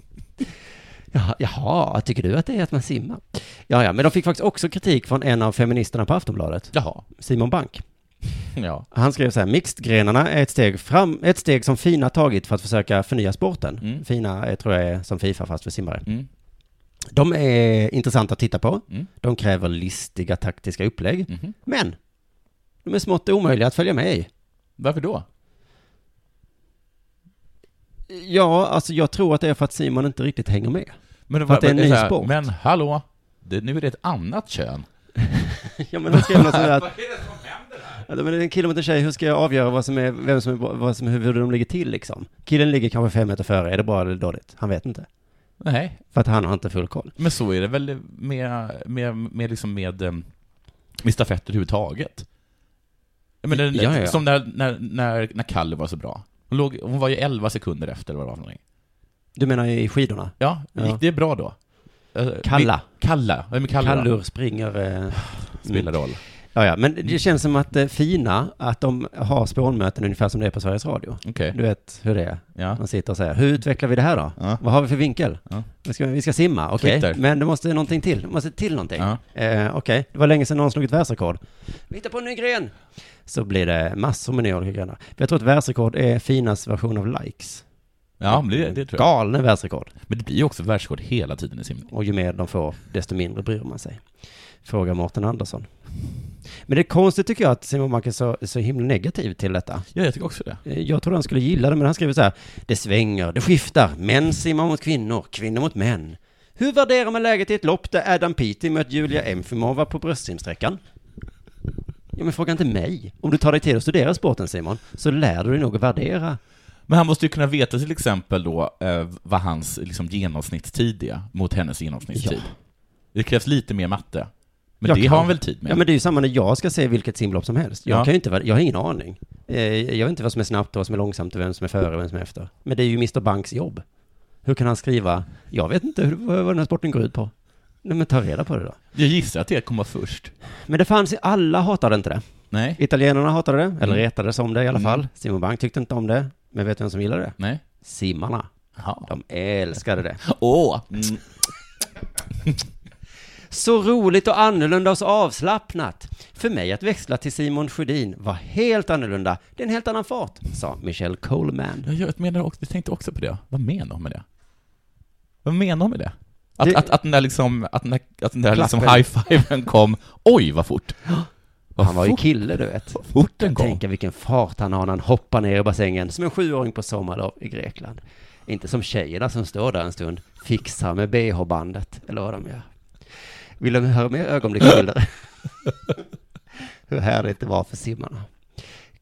Speaker 3: Jaha, jaha, tycker du att det är att man simmar? Ja, ja, men de fick faktiskt också kritik från en av feministerna på Aftonbladet,
Speaker 4: Jaha,
Speaker 3: Simon Bank.
Speaker 4: ja.
Speaker 3: Han skrev så här, mixed-grenarna är ett steg, fram, ett steg som Fina tagit för att försöka förnya sporten.
Speaker 4: Mm.
Speaker 3: Fina eh, tror jag är som Fifa fast för simmare.
Speaker 4: Mm.
Speaker 3: De är intressanta att titta på.
Speaker 4: Mm.
Speaker 3: De kräver listiga taktiska upplägg.
Speaker 4: Mhm.
Speaker 3: Men de är smått omöjliga att följa med i.
Speaker 4: Varför då?
Speaker 3: Ja, alltså jag tror att det är för att Simon inte riktigt hänger med.
Speaker 4: Men,
Speaker 3: För att det är en
Speaker 4: men-
Speaker 3: ny
Speaker 4: så här,
Speaker 3: sport.
Speaker 4: Men hallå, det, nu är det ett annat kön.
Speaker 3: ja, men han skrev något sådär att... Vad är det som händer här? Men det är en kille mot en tjej, hur ska jag avgöra vad som är, vem som är, vad som, hur de ligger till liksom? Killen ligger kanske fem meter före, är det bra eller dåligt? Han vet inte.
Speaker 4: Nej,
Speaker 3: För att han har inte full koll.
Speaker 4: Men så är det väl med, med, med, liksom med, eh, med stafetter överhuvudtaget. Jag menar,
Speaker 3: Ja, ja, ja.
Speaker 4: Som när, när, när, när Kalle var så bra. Hon, låg, hon var ju 11 sekunder efter eller vad det var för någonting.
Speaker 3: Du menar i skidorna?
Speaker 4: Ja,
Speaker 3: Ja.
Speaker 4: gick det bra då? Eh,
Speaker 3: Kalla.
Speaker 4: vi- Kalla, vem är Kalla? då?
Speaker 3: Kallur springer... Eh...
Speaker 4: Spelar roll.
Speaker 3: Ja, ja, men det känns som att eh, fina, att de har spånmöten ungefär som det är på Sveriges Radio.
Speaker 4: Okej.
Speaker 3: Du vet hur det är.
Speaker 4: Ja.
Speaker 3: Man sitter och säger, hur utvecklar vi det här då?
Speaker 4: Ja.
Speaker 3: Vad har vi för vinkel?
Speaker 4: Ja.
Speaker 3: Vi, ska, vi ska simma, okej.
Speaker 4: Twitter.
Speaker 3: Men det måste någonting till. Det måste till någonting.
Speaker 4: Ja.
Speaker 3: Eh, okej, det var länge sedan någon slog ett världsrekord. Vi hittar på en ny gren! Så blir det massor med nya olika grenar. Jag tror att världsrekord är Finas version av likes.
Speaker 4: ja, men det, det tror jag.
Speaker 3: Galna världsrekord.
Speaker 4: Men det blir ju också världsrekord hela tiden i simning.
Speaker 3: Och ju mer de får, desto mindre bryr man sig. Frågar Mårten Andersson. Men det är konstigt tycker jag att Simon Mark är så, så himla negativ till detta.
Speaker 4: Ja, jag tycker också det.
Speaker 3: Eh, Jag trodde han skulle gilla det, men han skrev så här. Det svänger, det skiftar. Män simmar mot kvinnor, kvinnor mot män. Hur värderar man läget i ett lopp där Adam Peaty mött Julia Emfimova på bröstsimsträckan? Ja, men fråga inte mig. Om du tar dig tid att studera sporten, Simon, så lär du dig nog att värdera.
Speaker 4: Men han måste ju kunna veta till exempel då eh, vad hans liksom, genomsnittstid är mot hennes genomsnittstid. Det krävs lite mer matte. Men
Speaker 3: Jag
Speaker 4: det
Speaker 3: kan.
Speaker 4: har han väl tid med?
Speaker 3: Ja, men det är ju samma när jag ska se vilket simlopp som helst. Jag
Speaker 4: Ja.
Speaker 3: kan ju inte, vär- jag har ingen aning. Eh, Jag vet inte vad som är snabbt och vad som är långsamt och vem som är före och vem som är efter. Men det är ju Mr. Banks jobb. Hur kan han skriva, jag vet inte hur, vad den här sporten går ut på. Nej, men ta reda på det då.
Speaker 4: Jag gissar att det kommer först.
Speaker 3: Men det fanns, ju- alla hatade inte det.
Speaker 4: Nej.
Speaker 3: Italienarna hatade det, eller
Speaker 4: Mm.
Speaker 3: retades om det i alla
Speaker 4: Mm.
Speaker 3: fall. Simon Bank tyckte inte om det, men vet du vem som gillade det?
Speaker 4: Nej.
Speaker 3: Simmarna.
Speaker 4: Jaha. Mm.
Speaker 3: De älskade det.
Speaker 4: Åh! Mm.
Speaker 3: Så roligt och annorlunda och så avslappnat. För mig att växla till Simon Sjödin var helt annorlunda. Det är en helt annan fart, sa Michelle Coleman.
Speaker 4: Ja, Jag menar också, jag tänkte också på det. Vad menar hon med det? Vad menar hon med det? Att,
Speaker 3: Det-
Speaker 4: att, att den där liksom, att den där, att den där liksom
Speaker 3: Klappen.
Speaker 4: high-fiven kom, oj vad fort! Vad
Speaker 3: Han var ju
Speaker 4: fort,
Speaker 3: kille, du vet.
Speaker 4: vad fort den kom!
Speaker 3: Tänka vilken fart han har när han hoppar ner i bassängen som en sjuåring på sommarlov i Grekland. Inte som tjejerna som står där en stund, fixar med bh-bandet, eller vad de gör. Vill de höra mer ögonblicksbilder? Hur härligt det var för simmarna.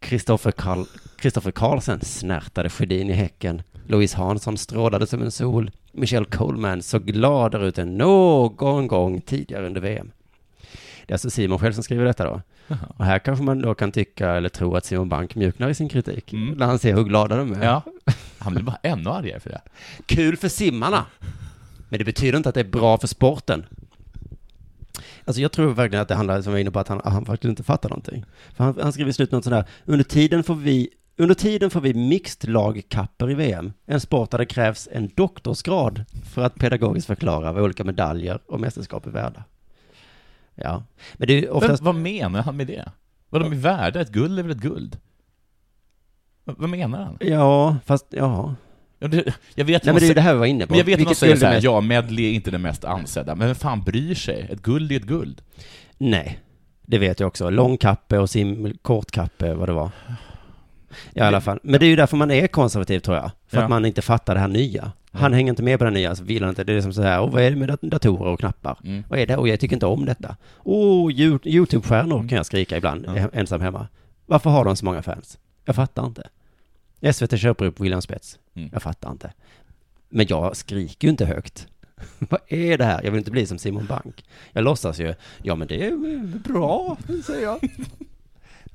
Speaker 3: Kristoffer Karl, Kristoffer Karlsen snärtade Sjödin i häcken. Louise Hansson strålade som en sol. Michelle Coleman såg gladare ut än någon gång tidigare under VM. Det är alltså Simon själv som skriver detta då. Och här kanske man då kan tycka eller tro att Simon Bank mjuknar i sin kritik.
Speaker 4: Mm.
Speaker 3: När han ser hur glada de är.
Speaker 4: Ja, han blev bara ännu argare för det.
Speaker 3: Kul för simmarna. Men det betyder inte att det är bra för sporten. Alltså jag tror verkligen att det handlar, som jag var inne på, att han, han faktiskt inte fattar någonting. För han, han skriver i slutet något sånt här, under tiden får vi under tiden får vi mixed lagkapper i VM, en sport där det krävs en doktorsgrad för att pedagogiskt förklara vad olika medaljer och mästerskap är värda. Ja, men det är ju oftast...
Speaker 4: Men, vad menar han med det? Vad de är värda? Ett guld är väl ett guld? Vad vad menar han?
Speaker 3: Ja, fast ja.
Speaker 4: Ja, det- Jag vet
Speaker 3: Nej men
Speaker 4: vad
Speaker 3: det är ju
Speaker 4: han
Speaker 3: det här vi var inne på.
Speaker 4: Men jag vet att
Speaker 3: Vilket
Speaker 4: de säger
Speaker 3: guld är
Speaker 4: såhär,
Speaker 3: mest-
Speaker 4: ja, medley är inte det mest ansedda, men vem fan bryr sig? Ett guld är ett guld.
Speaker 3: Nej, det vet jag också. Lång kappe och sim, kort kappe, vad det var. Ja, I alla fall. Men det är ju därför man är konservativ tror jag. För
Speaker 4: Ja.
Speaker 3: att man inte fattar det här nya. Han hänger inte med på det nya, så vill han inte. Det är som så här, "Åh, vad är det med dat- datorer och knappar?
Speaker 4: Mm.
Speaker 3: Vad är det? Och jag tycker inte om detta. Åh, Yo- YouTube-stjärnor kan jag skrika ibland,
Speaker 4: Mm. Ja.
Speaker 3: he- ensam hemma. Varför har de så många fans? Jag fattar inte. SVT köper upp William Spets.
Speaker 4: Mm.
Speaker 3: Jag fattar inte. Men jag skriker ju inte högt. Vad är det här? Jag vill inte bli som Simon Bank. Jag låtsas ju. Ja, men det är bra, säger jag.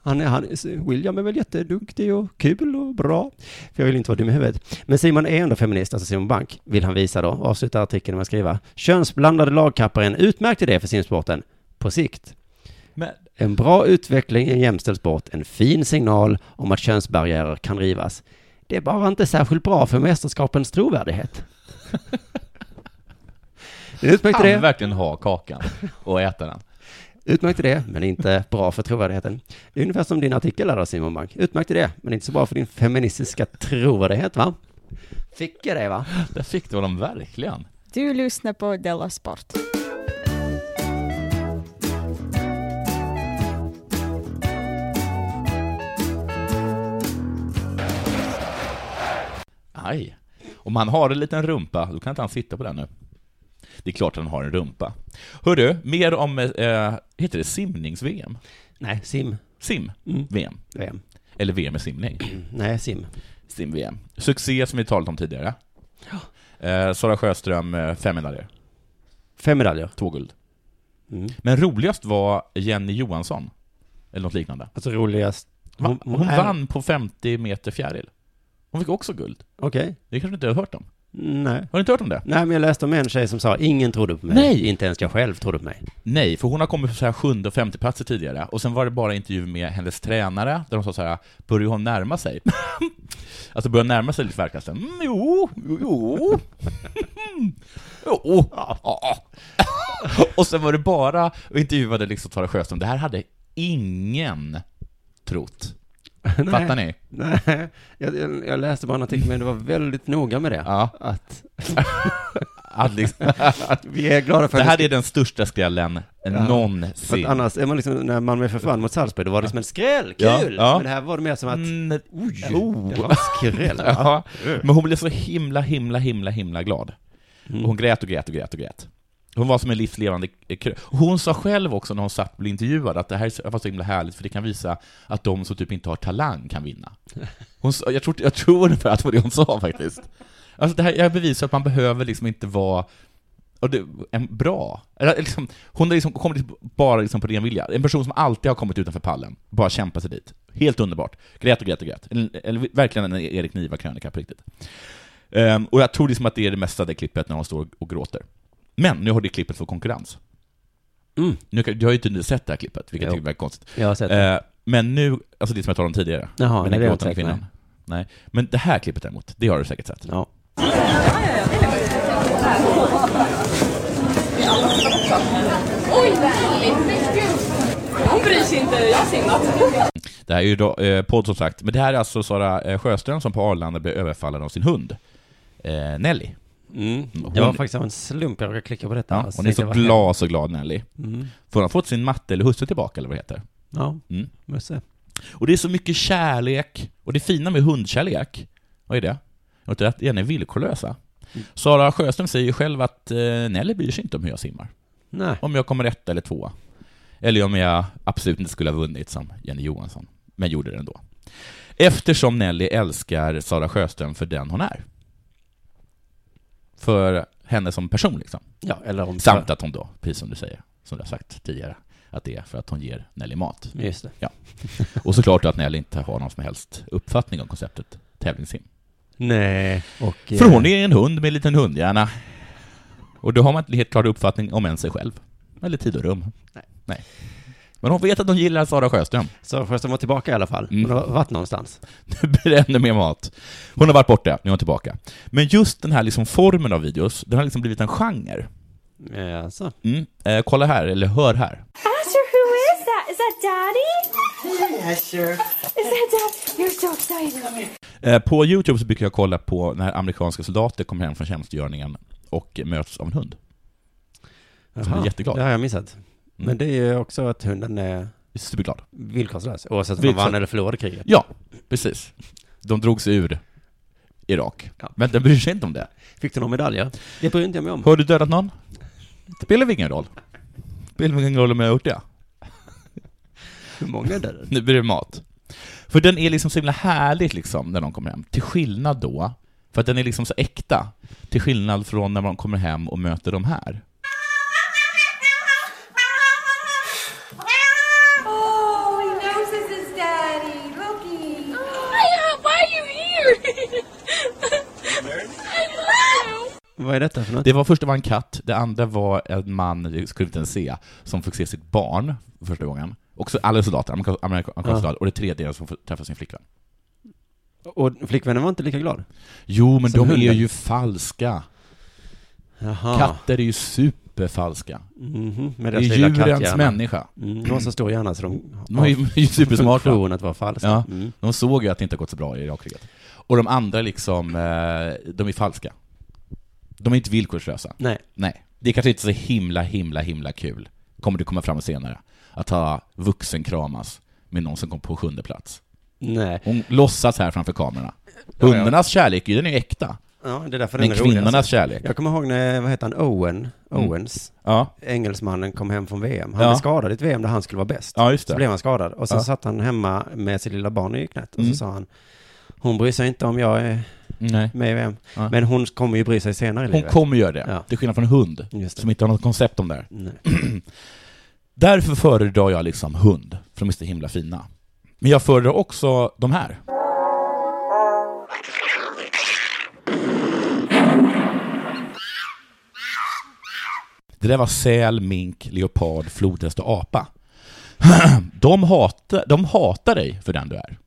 Speaker 3: Han är, han, William är väl jätteduktig och kul och bra. För jag vill inte vara dum i huvudet. Men Simon är ändå feminist, alltså Simon Bank, vill han visa då. Och Avsluta artikeln med att skriva. Könsblandade lagkappar är en utmärkt idé för simsporten. På sikt.
Speaker 4: Men,
Speaker 3: En bra utveckling i en jämställd sport, en fin signal om att könsbarriärer kan rivas. Det är bara inte särskilt bra för mästerskapens trovärdighet. Det är en utmärkt
Speaker 4: han
Speaker 3: idé,
Speaker 4: verkligen ha kakan och äta den.
Speaker 3: utmärkt idé, men inte bra för trovärdigheten. Det är ungefär som din artikel där då, Simon Bank. Utmärkt idé, men inte så bra för din feministiska trovärdighet, va? Fick jag det, va?
Speaker 4: Där fick du honom verkligen.
Speaker 2: Du lyssnar på Della Sport.
Speaker 4: Aj. Om han har en liten rumpa, då kan inte han sitta på den nu. Det är klart han har en rumpa. Hörru, mer om, eh, heter det simnings-VM?
Speaker 3: Nej, sim. Mm.
Speaker 4: Sim-VM?
Speaker 3: VM.
Speaker 4: Eller VM i simning?
Speaker 3: Mm. Nej, sim.
Speaker 4: Sim-VM. Succé som vi talat om tidigare. Eh, Sara Sjöström, eh, fem medaljer.
Speaker 3: Fem medaljer.
Speaker 4: Två guld.
Speaker 3: Mm.
Speaker 4: Men roligast var Jenny Johansson, eller något liknande.
Speaker 3: Alltså roligast.
Speaker 4: Hon, hon,
Speaker 3: är-
Speaker 4: vann på 50 meter fjäril. Hon fick också guld.
Speaker 3: Okej.
Speaker 4: Det kanske du inte har hört om?
Speaker 3: Nej.
Speaker 4: Har du inte hört om det?
Speaker 3: Nej, men jag läste om en tjej som sa ingen trodde på mig.
Speaker 4: Nej.
Speaker 3: Inte ens jag själv trodde på mig.
Speaker 4: Nej, för hon har kommit på så här sjunde och femte platser tidigare, och sen var det bara intervju med hennes tränare, där de sa så här, börjar hon närma sig? alltså börjar närma sig lite världsklassen? Mm, jo, jo, jo. jo. ja. och sen var det bara, och intervjuade liksom Sara Sjöström, det här hade ingen trott. Fattar ni?
Speaker 3: Nej, jag, jag, jag läste bara en artikel, men det var väldigt noga med det.
Speaker 4: Ja.
Speaker 3: Att
Speaker 4: Att liksom,
Speaker 3: vi är glada för
Speaker 4: det
Speaker 3: att,
Speaker 4: här är den största skrällen
Speaker 3: för att
Speaker 4: någonsin.
Speaker 3: annars är man liksom, när Malmö försvann mot Salzburg, då var det liksom en skräll,
Speaker 4: Ja,
Speaker 3: kul!
Speaker 4: ja.
Speaker 3: Men det här var det mer som att,
Speaker 4: Mm, oj.
Speaker 3: det var en skräll. va?
Speaker 4: Ja. Men hon blev så himla, himla, himla, himla glad. Och hon grät och grät och grät och grät. Hon var som en livslevande krö- Hon sa själv också när hon satt och blev intervjuad att det här var så himla härligt för det kan visa att de som typ inte har talang kan vinna. Hon sa, jag, tror, jag tror ungefär att det var det hon sa faktiskt. Alltså det här, jag bevisar att man behöver liksom inte vara och det, en bra. Eller, liksom, hon har liksom kommit bara liksom på ren vilja. En person som alltid har kommit utanför pallen, bara kämpat sig dit. Helt underbart. Grät och grät och grät. Eller, eller verkligen en Erik Niva-krönika på riktigt. Ehm, och jag tror liksom att det är det mesta det klippet när hon står och gråter. Men nu har det klippet fått konkurrens.
Speaker 3: Mm.
Speaker 4: Nu, kan- du har ju typ inte sett det här klippet, vilket
Speaker 3: Jo.
Speaker 4: jag tycker är väldigt konstigt.
Speaker 3: Jag har sett det.
Speaker 4: Eh, men nu, alltså det som jag talade om tidigare,
Speaker 3: Jaha,
Speaker 4: med
Speaker 3: nej,
Speaker 4: den
Speaker 3: det har jag
Speaker 4: gråtande
Speaker 3: inte sett,
Speaker 4: kvinnan. Nej. Men det här klippet däremot, det har du säkert sett.
Speaker 3: Ja.
Speaker 4: Det här är ju då, eh, podd som sagt, men det här är alltså Sara eh, Sjöström som på Arlanda blev överfallen av sin hund. Eh, Nelly.
Speaker 3: Mm.
Speaker 4: Hon-
Speaker 3: Det var faktiskt av en slump jag råkade klicka på detta.
Speaker 4: Ja,
Speaker 3: Alltså,
Speaker 4: hon är
Speaker 3: det
Speaker 4: så
Speaker 3: var-
Speaker 4: glad, så glad Nelly.
Speaker 3: Mm.
Speaker 4: För hon har fått sin matte eller husse tillbaka eller vad det heter.
Speaker 3: Ja,
Speaker 4: Mm.
Speaker 3: Musse.
Speaker 4: Och det är så mycket kärlek, och det fina med hundkärlek, vad är det? Och det är att den är villkorlösa. Sara Sjöström säger ju själv att eh, Nelly bryr sig inte om hur jag simmar.
Speaker 3: Nej.
Speaker 4: Om jag kommer etta eller tvåa. Eller om jag absolut inte skulle ha vunnit som Jenny Johansson, men gjorde det ändå. Eftersom Nelly älskar Sara Sjöström för den hon är. För henne som person liksom.
Speaker 3: Ja, eller om...
Speaker 4: Samt att hon då, precis som du säger, som du har sagt tidigare, att det är för att hon ger Nelly mat.
Speaker 3: Just det.
Speaker 4: Och såklart att Nelly inte har någon som helst uppfattning om konceptet tävlingssim.
Speaker 3: Nej. Och, eh,
Speaker 4: För hon är en hund med en liten hundhjärna. Och då har man inte helt klar uppfattning om ens sig själv. Eller tid och rum.
Speaker 3: Nej.
Speaker 4: Men hon vet att hon gillar Sara Sjöström.
Speaker 3: Så Sjöström var tillbaka i alla fall.
Speaker 4: Mm.
Speaker 3: Hon har varit någonstans.
Speaker 4: Nu blir det ännu mer mat. Hon har varit borta, nu är hon tillbaka. Men just den här liksom formen av videos, den har liksom blivit en genre.
Speaker 3: Eh, så.
Speaker 4: Mm. Eh, kolla här, eller hör här.
Speaker 7: Asher, Ah, who is that? Is that Daddy? Asher. Is that Dad? You're so excited.
Speaker 4: Eh, På YouTube så brukar jag kolla på när amerikanska soldater kommer hem från tjänstgöringen och möts av en hund. Så hon är jätteglad. Mm.
Speaker 3: Det har jag missat. Men det är ju också att hunden är
Speaker 4: Superglad.
Speaker 3: villkorslös, oavsett om man
Speaker 4: Villkorslös.
Speaker 3: vann eller förlorade kriget.
Speaker 4: Ja, precis. De drog sig ur Irak.
Speaker 3: Ja.
Speaker 4: Men den bryr sig inte om det.
Speaker 3: Fick du några medaljer? Det bryr inte jag mig om.
Speaker 4: Har du dödat någon? Det spelar väl ingen roll? Det spelar väl ingen roll om jag har gjort det?
Speaker 3: Hur många är det?
Speaker 4: Nu blir det mat. För den är liksom så himla härligt liksom när de kommer hem. Till skillnad då, för att den är liksom så äkta. Till skillnad från när man kommer hem och möter de här.
Speaker 7: Oh, he knows this is Daddy. Looky.
Speaker 8: uh, Why are you here? I love you.
Speaker 3: Vad är detta för något?
Speaker 4: Det var första var en katt, det andra var en man, det skulle vi inte ens se, som fick se sitt barn för första gången. Också alla soldater, amerika- amerikanska
Speaker 3: Ja.
Speaker 4: soldater, och det tredje är som får träffa sin flickvän.
Speaker 3: Och flickvännen var inte lika glad?
Speaker 4: Jo, men
Speaker 3: Som
Speaker 4: de är
Speaker 3: hunden.
Speaker 4: ju falska.
Speaker 3: Jaha.
Speaker 4: Katter är ju superfalska.
Speaker 3: Mhm, Med
Speaker 4: Det är
Speaker 3: deras lilla
Speaker 4: djurens
Speaker 3: katthjärna.
Speaker 4: människa.
Speaker 3: Mm, de har så stor hjärna så de
Speaker 4: De är ju, de är ju supersmarta.
Speaker 3: funktion att vara falska.
Speaker 4: Ja.
Speaker 3: Mm.
Speaker 4: De såg ju att det inte har gått så bra i Irakkriget. Och de andra liksom, eh, de är falska. De är inte villkorslösa.
Speaker 3: Nej.
Speaker 4: Nej, det är kanske inte så himla, himla, himla kul, kommer det komma fram senare, att ha vuxenkramas med någon som kom på sjunde plats.
Speaker 3: Nej.
Speaker 4: Hon låtsas här framför kamerorna.
Speaker 3: ja.
Speaker 4: Hundarnas kärlek, den är ju äkta.
Speaker 3: Ja, det är därför
Speaker 4: Men
Speaker 3: den är rolig.
Speaker 4: kvinnornas
Speaker 3: Alltså.
Speaker 4: kärlek.
Speaker 3: Jag kommer ihåg när, vad heter han, Owen,
Speaker 4: Mm.
Speaker 3: Owens,
Speaker 4: Ja,
Speaker 3: engelsmannen kom hem från VM. Han
Speaker 4: Ja.
Speaker 3: blev skadad i ett VM där han skulle vara bäst.
Speaker 4: ja just
Speaker 3: Så
Speaker 4: det.
Speaker 3: blev han skadad. Och sen
Speaker 4: Ja.
Speaker 3: satt han hemma med sitt lilla barn i knät. Och
Speaker 4: Mm.
Speaker 3: så sa han, hon bryr sig inte om jag är
Speaker 4: Nej.
Speaker 3: med i VM.
Speaker 4: Ja.
Speaker 3: Men hon kommer ju bry sig senare i
Speaker 4: Hon
Speaker 3: livet.
Speaker 4: kommer göra det,
Speaker 3: Ja.
Speaker 4: till skillnad från en hund,
Speaker 3: Just det.
Speaker 4: som inte har något koncept om det här.
Speaker 3: Nej.
Speaker 4: Därför föredrar jag liksom hund, för de är så himla fina. Men jag föredrar också de här. Det där var säl, mink, leopard, flodhäst och apa. De hatar, de hatar dig för den du är,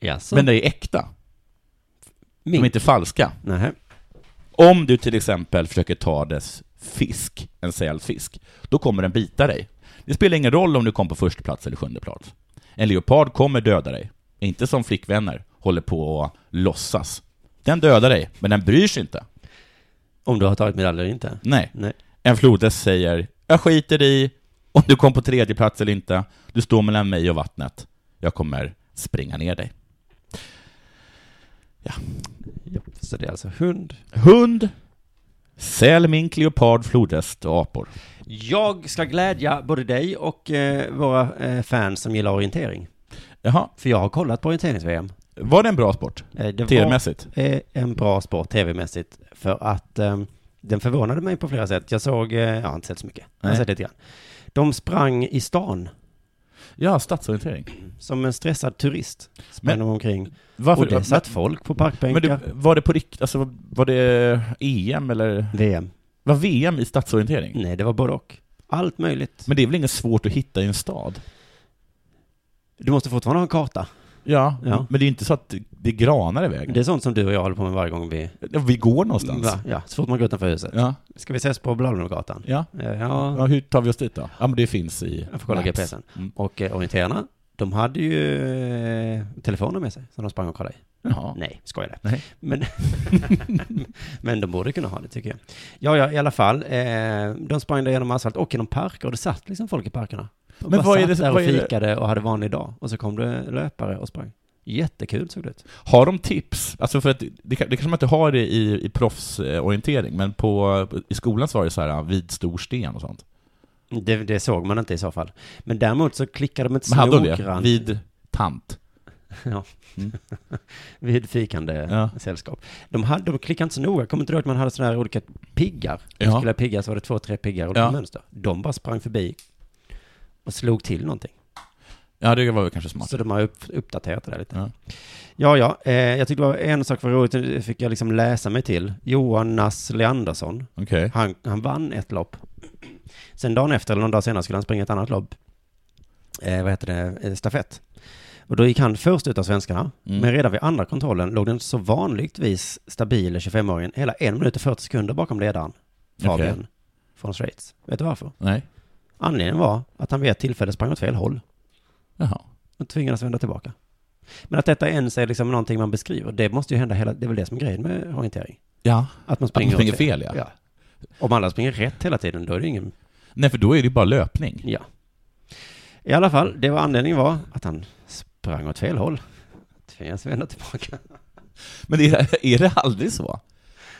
Speaker 3: Jaså?
Speaker 4: men det är äkta. De
Speaker 3: Mink?
Speaker 4: är inte falska.
Speaker 3: Nähä.
Speaker 4: Om du till exempel försöker ta dess fisk, en sälfisk, då kommer den bita dig. Det spelar ingen roll om du kom på första plats eller sjunde plats. En leopard kommer döda dig. Inte som flickvänner håller på och låtsas. Den dödar dig, men den bryr sig inte.
Speaker 3: Om du har tagit medalj eller inte?
Speaker 4: Nej.
Speaker 3: Nej.
Speaker 4: En flodhäst säger ”Jag skiter i om du kom på tredje plats eller inte. Du står mellan mig och vattnet. Jag kommer springa ner dig.”
Speaker 3: Ja. Så det är alltså hund.
Speaker 4: Hund, säl, mink, leopard, flodhäst och apor.
Speaker 3: Jag ska glädja både dig och eh, våra eh, fans som gillar orientering.
Speaker 4: Jaha,
Speaker 3: För jag har kollat på orienterings-VM.
Speaker 4: var det en bra sport?
Speaker 3: Eh, det var
Speaker 4: TV-mässigt?
Speaker 3: eh, en bra sport tv-mässigt för att eh, den förvånade mig på flera sätt. Jag såg, eh, jag har inte sett så mycket, jag har
Speaker 4: Nej.
Speaker 3: sett lite grann. De sprang i stan
Speaker 4: Ja, stadsorientering.
Speaker 3: som en stressad turist. Sprang
Speaker 4: Men-
Speaker 3: de omkring.
Speaker 4: Varför?
Speaker 3: och det satt folk på parkbänkar.
Speaker 4: men du, var det på riktigt, alltså var det EM eller?
Speaker 3: VM.
Speaker 4: Var VM i stadsorientering?
Speaker 3: Nej, det var både och. Allt möjligt.
Speaker 4: Men det är väl inget svårt att hitta i en stad?
Speaker 3: Du måste fortfarande ha en karta.
Speaker 4: Ja,
Speaker 3: Ja.
Speaker 4: men det är ju inte så att det granar i vägen.
Speaker 3: Det är sånt som du och jag håller på med varje gång vi...
Speaker 4: Vi går någonstans.
Speaker 3: Va? Ja, så fort man går utanför huset.
Speaker 4: Ja,
Speaker 3: Ska vi ses på Blablabla-gatan?
Speaker 4: ja.
Speaker 3: Eh,
Speaker 4: ja,
Speaker 3: Ja,
Speaker 4: hur tar vi oss dit då? Ja, men det finns i...
Speaker 3: jag får kolla
Speaker 4: Maps.
Speaker 3: GPSen.
Speaker 4: Mm.
Speaker 3: Och eh, orienterarna, de hade ju eh, telefoner med sig som de sprang och kollade i.
Speaker 4: Jaha.
Speaker 3: Nej, skojade.
Speaker 4: Nej.
Speaker 3: Men, men de borde kunna ha det tycker jag. Ja, ja, i alla fall. Eh, de sprang där genom asfalt och genom parker och det satt liksom folk i parkerna. De
Speaker 4: Men
Speaker 3: bara
Speaker 4: vad är
Speaker 3: satt
Speaker 4: det-
Speaker 3: där och
Speaker 4: vad är det-
Speaker 3: fikade och hade vanlig dag. Och så kom det löpare och sprang. Jättekul såg det ut.
Speaker 4: Har de tips? Alltså för att det, kan- det kanske man inte har det i, i proffsorientering, men på, i skolan så var det så här vid stor sten och sånt.
Speaker 3: Det, det såg man inte i så fall. Men däremot så klickade de inte så
Speaker 4: Men hade de det?
Speaker 3: noggrant vid,
Speaker 4: Vid tant.
Speaker 3: fikande
Speaker 4: Ja.
Speaker 3: sällskap. De, hade, de klickade inte så noga. Kommer inte du ihåg att man hade sådana här olika piggar?
Speaker 4: Ja.
Speaker 3: Skulle jag pigga så var det två, tre piggar och
Speaker 4: Ja.
Speaker 3: mönster. De bara sprang förbi och slog till någonting.
Speaker 4: Ja, det var väl kanske smart.
Speaker 3: Så de har upp, uppdaterat det där lite.
Speaker 4: Ja.
Speaker 3: Ja, ja. Eh, jag tyckte det var en sak var roligt, det fick jag liksom läsa mig till. Johan Nass Leandersson,
Speaker 4: Okej.
Speaker 3: han, han vann ett lopp. Sen dagen efter, eller någon dag senare, skulle han springa ett annat lopp. Eh, vad heter det? Eh, Stafett. Och då gick han först ut av svenskarna,
Speaker 4: Mm.
Speaker 3: men redan vid andra kontrollen låg den så vanligtvis stabile 25-åringen hela en minut och 40 sekunder bakom ledaren, Fabian,
Speaker 4: Okej.
Speaker 3: från Schweiz. Vet du varför?
Speaker 4: Nej.
Speaker 3: Anledningen var att han vid ett tillfälle sprang åt fel håll
Speaker 4: Jaha.
Speaker 3: och tvingades vända tillbaka. Men att detta ens är liksom någonting man beskriver, det måste ju hända hela, det är väl det som är grejen med orientering.
Speaker 4: Ja.
Speaker 3: Att man springer,
Speaker 4: man springer
Speaker 3: åt
Speaker 4: fel, ja.
Speaker 3: Om alla springer rätt hela tiden, då är det ingen,
Speaker 4: Nej, för då är det ju bara löpning.
Speaker 3: ja. I alla fall, det var anledningen var att han sprang åt fel håll. Tvingades vända tillbaka.
Speaker 4: Men är det, är det aldrig så?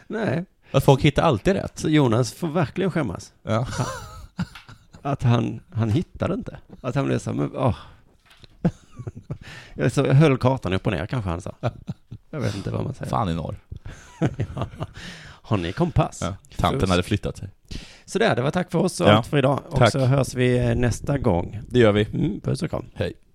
Speaker 3: Nej,
Speaker 4: Att folk hittar alltid rätt?
Speaker 3: så Jonas får verkligen skämmas.
Speaker 4: Ja.
Speaker 3: Att han, han hittade inte. Att han blev så, här, men åh. Jag så höll kartan upp och ner kanske han sa. Jag vet inte vad man säger.
Speaker 4: Fan i norr.
Speaker 3: Har ni kompass?
Speaker 4: Ja. Tanten hade flyttat sig.
Speaker 3: Sådär, det var tack för oss och
Speaker 4: Ja.
Speaker 3: allt för idag. Och
Speaker 4: Tack.
Speaker 3: så hörs vi eh, nästa gång.
Speaker 4: Det gör vi.
Speaker 3: Mm, puss och kram.
Speaker 4: Hej.